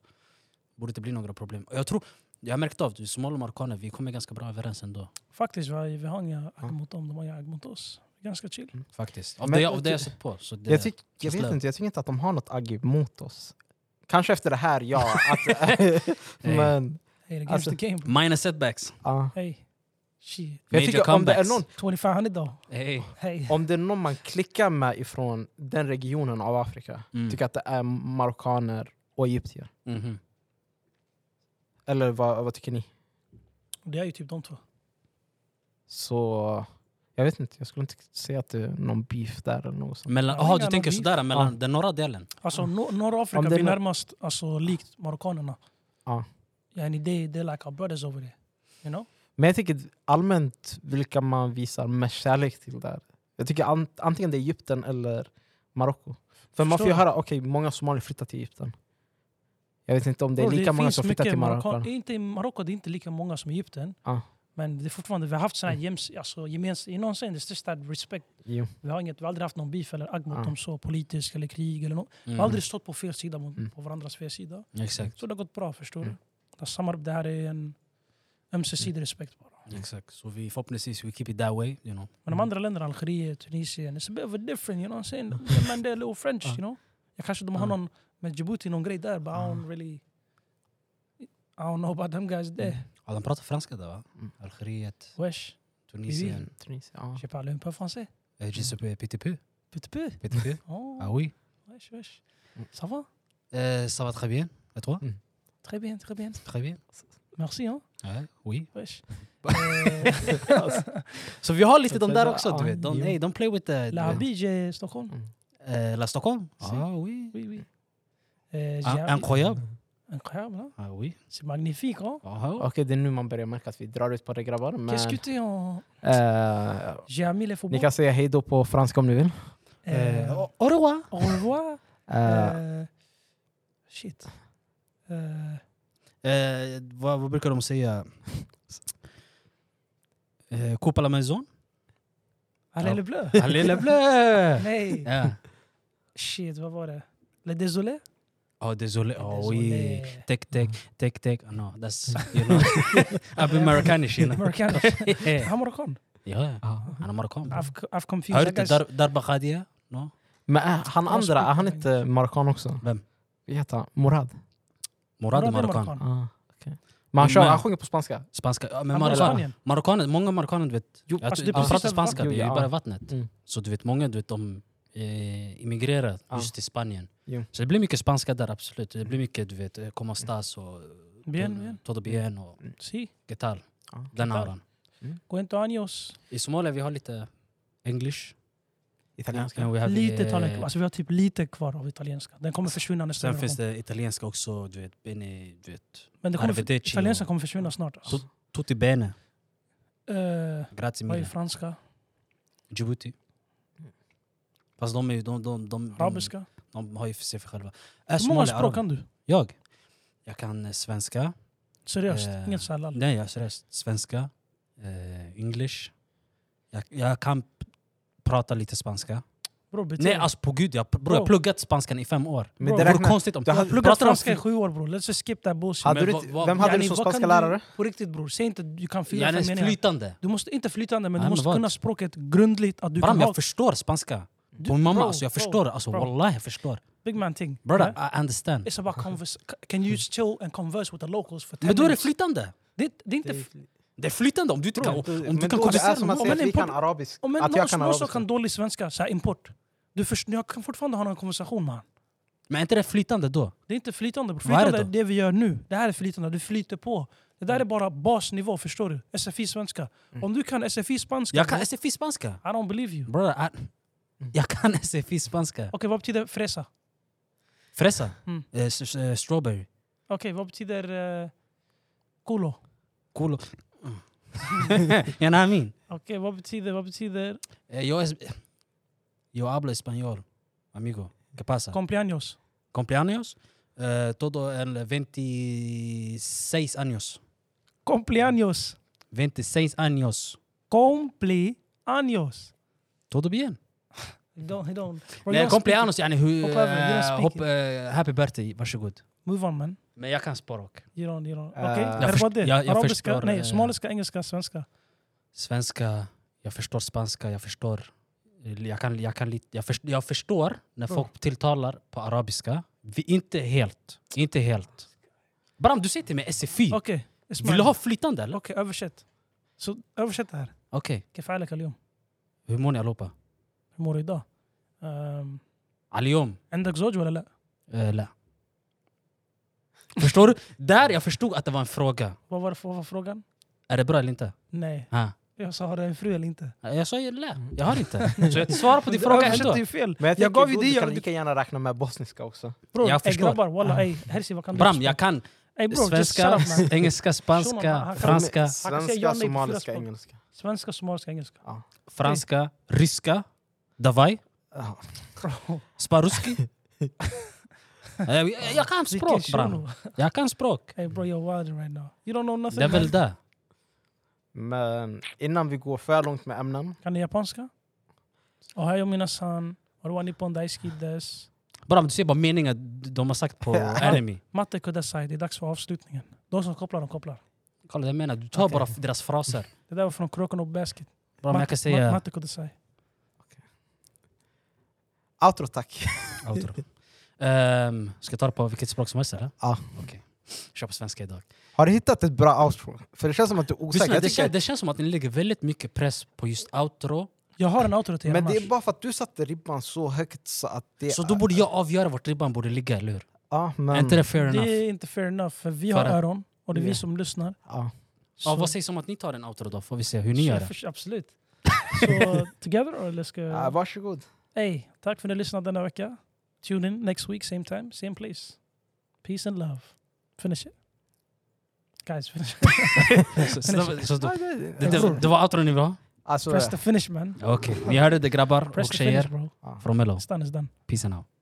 [SPEAKER 3] borde det inte bli några problem. Och Jag tror, jag har märkt av det, somalier och marockaner, vi kommer ganska bra överens ändå.
[SPEAKER 2] Faktiskt, vi, vi har inga
[SPEAKER 1] Ja.
[SPEAKER 2] agg mot dem. De har inga agg mot oss. Ganska chill.
[SPEAKER 3] Faktiskt. Av
[SPEAKER 1] Men-
[SPEAKER 3] det, jag- av det jag sett på. Så det,
[SPEAKER 1] Jag, tyck, jag
[SPEAKER 3] just
[SPEAKER 1] vet
[SPEAKER 3] love.
[SPEAKER 1] inte, jag tycker inte att de har något agg mot oss. Kanske efter det här, ja. Att,
[SPEAKER 3] Hey.
[SPEAKER 1] men, ah.
[SPEAKER 2] Hey, against
[SPEAKER 1] Alltså-
[SPEAKER 2] the game. bro.
[SPEAKER 3] eh, Minor setbacks.
[SPEAKER 1] ja.
[SPEAKER 2] Hey. Shit.
[SPEAKER 1] Jag
[SPEAKER 3] Major
[SPEAKER 1] tycker om det, är
[SPEAKER 3] comebacks.
[SPEAKER 1] någon,
[SPEAKER 2] 2500 då.
[SPEAKER 3] Hey.
[SPEAKER 2] Hey.
[SPEAKER 1] om det är någon man klickar med ifrån den regionen av Afrika,
[SPEAKER 3] Mm.
[SPEAKER 1] tycker jag att det är marockaner och egyptier.
[SPEAKER 3] Mhm.
[SPEAKER 1] Eller vad, vad tycker ni?
[SPEAKER 2] Det är ju typ de två.
[SPEAKER 1] Så jag vet inte, jag skulle inte säga att det är någon beef där eller något sånt.
[SPEAKER 3] Mellan,
[SPEAKER 2] Ja,
[SPEAKER 3] aha,
[SPEAKER 2] inga
[SPEAKER 3] du tänker
[SPEAKER 2] någon beef.
[SPEAKER 3] sådär, mellan
[SPEAKER 1] Ja.
[SPEAKER 3] den norra delen?
[SPEAKER 2] Alltså no, norra Afrika,
[SPEAKER 1] Om det är
[SPEAKER 2] vi är
[SPEAKER 1] nå-
[SPEAKER 2] närmast alltså, likt marockanerna.
[SPEAKER 1] Ja.
[SPEAKER 2] Yani they, they like our brothers over there. You know?
[SPEAKER 1] Men jag tycker allmänt vilka man visar mest kärlek till där. Jag tycker an, antingen det är Egypten eller Marocko. För man
[SPEAKER 2] Förstår
[SPEAKER 1] får ju
[SPEAKER 2] du?
[SPEAKER 1] höra, okej många somalier flyttar till Egypten. Jag vet inte om det är
[SPEAKER 2] Bro,
[SPEAKER 1] lika många
[SPEAKER 2] finns
[SPEAKER 1] som flyttar
[SPEAKER 2] mycket
[SPEAKER 1] till
[SPEAKER 2] marockan-
[SPEAKER 1] Marocko.
[SPEAKER 2] Inte i Marocko, det är inte lika många som i Egypten.
[SPEAKER 1] Ja. Mm.
[SPEAKER 2] Men det är fortfarande, vi har haft såna här gems, alltså, gemens, you know what I'm saying? Det är största respect.
[SPEAKER 1] Jo.
[SPEAKER 2] Vi har, inget, vi har aldrig haft någon beef eller agg mot
[SPEAKER 1] Ja.
[SPEAKER 2] dem så, politisk eller krig eller något.
[SPEAKER 3] Mm-hmm.
[SPEAKER 2] Vi har aldrig stått på fel sida mot,
[SPEAKER 1] Mm.
[SPEAKER 2] på varandras fel sida.
[SPEAKER 3] Exakt.
[SPEAKER 2] Så det har gått bra, förstår
[SPEAKER 1] Mm.
[SPEAKER 2] du? Det, samar- det här är en ömsesidig respekt bara.
[SPEAKER 3] Exakt. Så vi förhoppningsvis, we keep it that way. You know.
[SPEAKER 1] Mm.
[SPEAKER 2] Men de andra länderna, Algeriet, Tunisien, it's a bit of a different, you know what I'm saying? The man there, little French,
[SPEAKER 1] Ja.
[SPEAKER 2] you know? Jag kanske de har
[SPEAKER 1] Ja.
[SPEAKER 2] någon med Djibouti, någon grej där, but I don't really... I don't know about them guys there.
[SPEAKER 3] Ja, de pratar franska där va?
[SPEAKER 1] Mm.
[SPEAKER 3] Algeriet,
[SPEAKER 2] Wesh,
[SPEAKER 3] Tunisien.
[SPEAKER 1] Tunisien, ja.
[SPEAKER 2] je parle un peu français.
[SPEAKER 3] Eh, Je sais pas, PTP?
[SPEAKER 2] Petit peu.
[SPEAKER 3] PTP? Ah
[SPEAKER 2] Oh,
[SPEAKER 3] oui.
[SPEAKER 2] wesh, wesh.
[SPEAKER 1] Mm.
[SPEAKER 2] Ça va?
[SPEAKER 3] Eh, Ça va très bien. Et toi?
[SPEAKER 2] Très bien, très bien.
[SPEAKER 3] Très bien.
[SPEAKER 2] Merci, hein?
[SPEAKER 3] Ouais, oui.
[SPEAKER 2] Wesh.
[SPEAKER 3] Bah,
[SPEAKER 2] Euh,
[SPEAKER 3] Så vi har lite
[SPEAKER 1] Så
[SPEAKER 3] de
[SPEAKER 1] det
[SPEAKER 3] där
[SPEAKER 1] där-
[SPEAKER 3] också, du
[SPEAKER 1] ja,
[SPEAKER 3] vet. De,
[SPEAKER 1] jo.
[SPEAKER 3] hey, de play with uh, the...
[SPEAKER 2] La
[SPEAKER 3] du vet.
[SPEAKER 2] Habige, eh, Stockholm.
[SPEAKER 3] Eh, La Stockholm?
[SPEAKER 2] Si.
[SPEAKER 3] Ah oui.
[SPEAKER 2] Oui, oui. Eh,
[SPEAKER 3] Ah,
[SPEAKER 2] j'ai-
[SPEAKER 3] Incroyable.
[SPEAKER 2] Incroyable, hein?
[SPEAKER 3] Ah oui.
[SPEAKER 2] C'est magnifique, hein?
[SPEAKER 3] Ah,
[SPEAKER 1] Okej, det är nu man börjar märka att vi drar ut på det grabbar. Men,
[SPEAKER 2] Qu'est-ce que t'es en...
[SPEAKER 1] eh,
[SPEAKER 2] J'ai ami les faubourgs.
[SPEAKER 1] ni kan säga hej då på franska om ni vill.
[SPEAKER 2] Eh,
[SPEAKER 3] Au au revoir.
[SPEAKER 2] Au revoir.
[SPEAKER 1] Eh,
[SPEAKER 3] Ah.
[SPEAKER 2] Eh, shit. Eh,
[SPEAKER 3] Eh, vad, vad brukar de säga? Eh, euh, coupe à la maison?
[SPEAKER 2] Allez
[SPEAKER 3] Ja.
[SPEAKER 2] le bleu.
[SPEAKER 3] Allez le bleu!
[SPEAKER 2] Nej.
[SPEAKER 3] Ja.
[SPEAKER 2] Shit, euh. vad var det? Le désolé?
[SPEAKER 3] Oh, désolé. Oh oui.
[SPEAKER 2] Désolé.
[SPEAKER 3] Tek, tek,
[SPEAKER 2] Mm.
[SPEAKER 3] tek, tek. Oh, no, that's... You know. I've been Marocanish, you know.
[SPEAKER 2] Marockan.
[SPEAKER 3] Ja,
[SPEAKER 2] Han marockan.
[SPEAKER 3] ja. Han är marockan.
[SPEAKER 2] Ah, I've co- I've
[SPEAKER 3] Hör
[SPEAKER 2] confused.
[SPEAKER 3] du inte
[SPEAKER 2] Ah, guys.
[SPEAKER 3] Dar- Darba Khadia? No?
[SPEAKER 1] men eh, han
[SPEAKER 2] Jag har
[SPEAKER 1] andra, är han
[SPEAKER 2] spelat-
[SPEAKER 1] inte marockan också?
[SPEAKER 3] Vem?
[SPEAKER 1] Vad heter han? Morad?
[SPEAKER 3] Morad är
[SPEAKER 2] Morad är
[SPEAKER 3] marockan.
[SPEAKER 2] marockan.
[SPEAKER 1] Ah, okej. Men han, kör,
[SPEAKER 3] Men-
[SPEAKER 1] han sjunger på spanska.
[SPEAKER 3] Spanska. uh, Ja, men
[SPEAKER 2] Han bor i
[SPEAKER 3] marockan.
[SPEAKER 2] Spanien.
[SPEAKER 3] Marockaner, många marockaner du vet,
[SPEAKER 1] Jo,
[SPEAKER 3] jag
[SPEAKER 2] alltså,
[SPEAKER 3] tror-
[SPEAKER 2] det är
[SPEAKER 3] de
[SPEAKER 2] precis
[SPEAKER 3] pratar
[SPEAKER 2] där
[SPEAKER 3] ah, spanska,
[SPEAKER 1] vattnet-
[SPEAKER 3] det är ju
[SPEAKER 1] ja.
[SPEAKER 3] bara vattnet.
[SPEAKER 1] Mm.
[SPEAKER 3] Så du vet, många du vet, de eh, immigrerar
[SPEAKER 1] Ja.
[SPEAKER 3] just till Spanien.
[SPEAKER 1] Jo.
[SPEAKER 3] Så det blir mycket spanska där, absolut. Det blir mycket, du vet, eh, como estas och
[SPEAKER 2] Bien, bien.
[SPEAKER 3] todo bien och
[SPEAKER 2] Si.
[SPEAKER 3] qué tal.
[SPEAKER 1] Ja.
[SPEAKER 3] Den
[SPEAKER 2] tal?
[SPEAKER 3] auran.
[SPEAKER 2] Cuento años.
[SPEAKER 3] I Somalia vi har lite English.
[SPEAKER 1] italienska.
[SPEAKER 3] Sen we have,
[SPEAKER 2] Lite
[SPEAKER 3] eh,
[SPEAKER 2] italienska. Alltså vi har typ lite kvar av italienska. Den kommer
[SPEAKER 3] Alltså,
[SPEAKER 2] försvinna nästa
[SPEAKER 3] Sen
[SPEAKER 2] generation.
[SPEAKER 3] finns det italienska också, du vet, bene, du vet.
[SPEAKER 2] Men det kommer,
[SPEAKER 3] Arrivederci
[SPEAKER 2] italienska
[SPEAKER 3] och-
[SPEAKER 2] kommer försvinna snart. Alltså.
[SPEAKER 3] Så- Tutti bene,
[SPEAKER 2] Eh,
[SPEAKER 3] grazie
[SPEAKER 2] vad är
[SPEAKER 3] mille.
[SPEAKER 2] franska?
[SPEAKER 3] Djibouti. Fast de, är, ju- de, de, de, de,
[SPEAKER 2] Arabiska?
[SPEAKER 3] de har ju för sig för själva.
[SPEAKER 2] Hur många språk kan du?
[SPEAKER 3] Jag? Jag kan eh, svenska.
[SPEAKER 2] Seriöst?
[SPEAKER 3] Eh,
[SPEAKER 2] Inget såhär lall?
[SPEAKER 3] Nej, jag seriöst. Svenska. Eh, English. Jag, jag kan p- prata lite spanska.
[SPEAKER 2] Bror, bete
[SPEAKER 3] Nej,
[SPEAKER 2] dig.
[SPEAKER 3] alltså på gud. Jag, bro, jag
[SPEAKER 2] Bro.
[SPEAKER 3] har pluggat spanskan i fem år.
[SPEAKER 1] Men
[SPEAKER 2] Bro,
[SPEAKER 1] det
[SPEAKER 3] Det vore
[SPEAKER 1] räknas.
[SPEAKER 3] konstigt om...
[SPEAKER 1] Du hade-
[SPEAKER 2] Jag pluggar
[SPEAKER 3] Pratar de
[SPEAKER 2] franska i
[SPEAKER 3] fri-
[SPEAKER 2] sju år bror, let's just skip that bullshit.
[SPEAKER 1] Hade
[SPEAKER 3] Men
[SPEAKER 1] du,
[SPEAKER 3] vad-
[SPEAKER 1] inte-
[SPEAKER 3] vad-
[SPEAKER 1] vem hade
[SPEAKER 2] Yani,
[SPEAKER 1] du som
[SPEAKER 2] vad kan
[SPEAKER 1] spanska lärare?
[SPEAKER 2] På riktigt bror, säg inte du kan fyra,
[SPEAKER 3] Jag är
[SPEAKER 2] fem meningar.
[SPEAKER 3] flytande.
[SPEAKER 2] Du måste inte flytande men
[SPEAKER 3] Nej,
[SPEAKER 2] du
[SPEAKER 3] men
[SPEAKER 2] måste
[SPEAKER 3] vad?
[SPEAKER 2] kunna språket grundligt. Att du
[SPEAKER 3] Bram,
[SPEAKER 2] kan ha...
[SPEAKER 3] jag förstår spanska.
[SPEAKER 2] Du-
[SPEAKER 3] På min mamma,
[SPEAKER 2] bro,
[SPEAKER 3] alltså jag
[SPEAKER 2] bro,
[SPEAKER 3] förstår. Alltså
[SPEAKER 2] bro.
[SPEAKER 3] wallah, jag förstår.
[SPEAKER 2] Big man thing.
[SPEAKER 3] Brother,
[SPEAKER 2] Nej?
[SPEAKER 3] I understand.
[SPEAKER 2] It's about converse. Can you chill and converse with the locals for 10
[SPEAKER 3] Men då är det
[SPEAKER 2] minutes?
[SPEAKER 3] flytande.
[SPEAKER 2] Det, är- det är inte...
[SPEAKER 3] Det är flytande om du inte kan... Om
[SPEAKER 1] Men
[SPEAKER 3] du kan
[SPEAKER 1] då det är
[SPEAKER 3] konversera
[SPEAKER 1] som
[SPEAKER 3] med
[SPEAKER 1] att
[SPEAKER 3] någon.
[SPEAKER 1] säga
[SPEAKER 2] men
[SPEAKER 1] att vi
[SPEAKER 2] import-
[SPEAKER 1] kan arabisk.
[SPEAKER 2] Om en
[SPEAKER 1] Att
[SPEAKER 2] någon
[SPEAKER 1] jag kan
[SPEAKER 2] som också
[SPEAKER 1] arabiska.
[SPEAKER 2] kan dålig svenska, så här import. Du först, jag kan fortfarande ha en konversation med han.
[SPEAKER 3] Men är inte det flytande då?
[SPEAKER 2] Det är inte flytande bror.
[SPEAKER 3] Vad är det
[SPEAKER 2] Flytande är
[SPEAKER 3] då? Mm.
[SPEAKER 2] det vi gör nu. Det här är flytande, du flyter på. Det där är bara basnivå, förstår du? SFI-svenska. Om du kan SFI-spanska...
[SPEAKER 3] Jag kan
[SPEAKER 2] bro, Mm.
[SPEAKER 3] SFI spanska.
[SPEAKER 2] I don't believe you. Okej,
[SPEAKER 3] Bror, I- jag kan SFI spanska.
[SPEAKER 2] vad betyder fresa?
[SPEAKER 3] Fresa.
[SPEAKER 2] Mm.
[SPEAKER 3] Eh, s- s- eh, strawberry.
[SPEAKER 2] Okej, vad betyder... Uh, kulo?
[SPEAKER 3] Cool. you know what I mean?
[SPEAKER 2] Okej, vad betyder... Vad betyder...
[SPEAKER 3] Eh, Yo, es, yo hablo español, amigo. ¿Qué pasa?
[SPEAKER 2] Complianos?
[SPEAKER 3] ¿Cumpleaños? Eh, todo el 26 años.
[SPEAKER 2] Complianos!
[SPEAKER 3] 26 años.
[SPEAKER 2] Complianos!
[SPEAKER 3] Todo bien.
[SPEAKER 2] Don't, don't. Bro,
[SPEAKER 3] Nej,
[SPEAKER 2] jag
[SPEAKER 3] cumpleaños, yani hur...
[SPEAKER 2] Hoppa över, you don't
[SPEAKER 3] eh,
[SPEAKER 2] speak
[SPEAKER 3] hopp,
[SPEAKER 2] it.
[SPEAKER 3] eh, happy birthday, varsågod.
[SPEAKER 2] Move on man.
[SPEAKER 3] Men jag kan språk.
[SPEAKER 2] You don't, you don't.
[SPEAKER 1] Eh,
[SPEAKER 2] Okej,
[SPEAKER 1] Jag
[SPEAKER 2] det var
[SPEAKER 3] först-
[SPEAKER 2] det.
[SPEAKER 3] jag- jag
[SPEAKER 2] Arabiska,
[SPEAKER 3] förstår,
[SPEAKER 2] nej,
[SPEAKER 3] eh,
[SPEAKER 2] somaliska, engelska, svenska.
[SPEAKER 3] Svenska, jag förstår spanska, jag förstår... eh, Jag, kan, jag, kan, lite- jag, förstår, jag förstår när
[SPEAKER 2] Bra.
[SPEAKER 3] folk tilltalar på arabiska. Vi, inte helt. Inte helt. Bram, du säger till mig SFI.
[SPEAKER 2] Okej,
[SPEAKER 3] E Vill
[SPEAKER 2] Ismail.
[SPEAKER 3] du ha flytande eller?
[SPEAKER 2] Okej, översätt. Så översätt det här.
[SPEAKER 3] Okej.
[SPEAKER 2] كيف حالك اليوم؟
[SPEAKER 3] Hur mår ni allihopa?
[SPEAKER 2] hur mår du idag? Ehm,
[SPEAKER 3] Aliyom?
[SPEAKER 2] عندك زوج ولا لا؟
[SPEAKER 3] Eh, la. Förstår du? Där jag förstod att det var en fråga.
[SPEAKER 2] Vad var, vad var frågan?
[SPEAKER 3] Är det bra eller inte?
[SPEAKER 2] Nej,
[SPEAKER 3] Ah.
[SPEAKER 2] jag sa har du en fru eller inte?
[SPEAKER 3] Jag sa ju lä. Jag har inte. Så jag svarar på din fråga
[SPEAKER 2] översätter
[SPEAKER 3] ändå.
[SPEAKER 2] ju fel.
[SPEAKER 1] Men jag,
[SPEAKER 2] Jag gav ju dig-
[SPEAKER 1] Du kan
[SPEAKER 2] jag-
[SPEAKER 1] lika gärna räkna med bosniska också.
[SPEAKER 2] Bror,
[SPEAKER 3] Jag
[SPEAKER 2] ey,
[SPEAKER 3] förstår.
[SPEAKER 2] grabbar walla
[SPEAKER 3] Ah.
[SPEAKER 2] ey, hersi vad kan du
[SPEAKER 3] Bram,
[SPEAKER 2] förstå?
[SPEAKER 3] jag kan
[SPEAKER 2] Ey, bror, just
[SPEAKER 3] svenska,
[SPEAKER 2] shut up, man.
[SPEAKER 3] engelska,
[SPEAKER 2] Shunon, han
[SPEAKER 3] spanska,
[SPEAKER 2] kan-
[SPEAKER 3] franska,
[SPEAKER 2] Han kan säga
[SPEAKER 1] Svenska,
[SPEAKER 2] ja, nej på fyra
[SPEAKER 1] somaliska,
[SPEAKER 2] språk.
[SPEAKER 1] engelska.
[SPEAKER 2] Svenska, somaliska, engelska.
[SPEAKER 3] franska, ryska, davaj,
[SPEAKER 1] Ja.
[SPEAKER 3] sparuski. Eh, jag, jag kan språk Bram. Jag kan språk.
[SPEAKER 2] Ey bro, you're wild right now. You don't know
[SPEAKER 1] Alltså,
[SPEAKER 2] nothing.
[SPEAKER 3] Det är väl det.
[SPEAKER 2] man.
[SPEAKER 1] Men innan vi går för långt med ämnen.
[SPEAKER 2] Kan du japanska? Ohayo minasan, oruwa nippon daisuki desu.
[SPEAKER 3] Bram, du ser bara meningar de har sagt på Eremi.
[SPEAKER 2] Matte kudasai, det är dags för avslutningen. De som kopplar, de kopplar.
[SPEAKER 3] Kolla det jag menar, du tar
[SPEAKER 1] Okej.
[SPEAKER 3] bara deras fraser.
[SPEAKER 2] Det där var från Kroken och Basket.
[SPEAKER 3] Bram, jag kan säga...
[SPEAKER 2] Matte kudasai.
[SPEAKER 1] Outro tack.
[SPEAKER 3] Outro. Ehm, ska jag ta det på vilket språk som helst eller?
[SPEAKER 1] Ja.
[SPEAKER 3] Okej. Kör på svenska idag.
[SPEAKER 1] Har du hittat ett bra outro? För det känns som att du är osäker.
[SPEAKER 3] Lyssna,
[SPEAKER 1] Jag
[SPEAKER 3] det,
[SPEAKER 1] tycker-
[SPEAKER 3] kän, det känns som att ni lägger väldigt mycket press på just outro.
[SPEAKER 2] Jag har en outro till er
[SPEAKER 1] Men det är
[SPEAKER 2] annars.
[SPEAKER 1] bara för att du satte ribban så högt så att det...
[SPEAKER 3] Så då borde jag avgöra vart ribban borde ligga, eller hur?
[SPEAKER 1] Ja,
[SPEAKER 3] Är
[SPEAKER 1] men...
[SPEAKER 3] inte det fair enough?
[SPEAKER 2] Det är inte fair enough, för vi har
[SPEAKER 3] För att-
[SPEAKER 2] öron och det är vi
[SPEAKER 1] Ja.
[SPEAKER 2] som lyssnar.
[SPEAKER 1] Ja.
[SPEAKER 3] Ja, vad sägs om att ni tar en outro då? Får vi se hur ni
[SPEAKER 2] Så
[SPEAKER 3] gör
[SPEAKER 2] jag
[SPEAKER 3] det.
[SPEAKER 2] förs- Absolut. Så together or let's
[SPEAKER 1] Ja,
[SPEAKER 2] go.
[SPEAKER 1] varsågod.
[SPEAKER 2] Hey, tack för att ni lyssnade denna vecka. Tune in next week, same time, same place. Peace and love. Finish it. Guys, finish it.
[SPEAKER 3] Så- så- så-
[SPEAKER 1] Ja,
[SPEAKER 3] så-
[SPEAKER 1] det-
[SPEAKER 3] Det, det, det var outro ni ville ha?
[SPEAKER 1] Alltså,
[SPEAKER 2] Press the finish man.
[SPEAKER 3] Okej, ni hörde det grabbar
[SPEAKER 2] Press
[SPEAKER 3] och
[SPEAKER 2] the finish
[SPEAKER 3] tjejer
[SPEAKER 2] bro.
[SPEAKER 3] från Mello.
[SPEAKER 2] It's done, it's done.
[SPEAKER 3] Peace and out.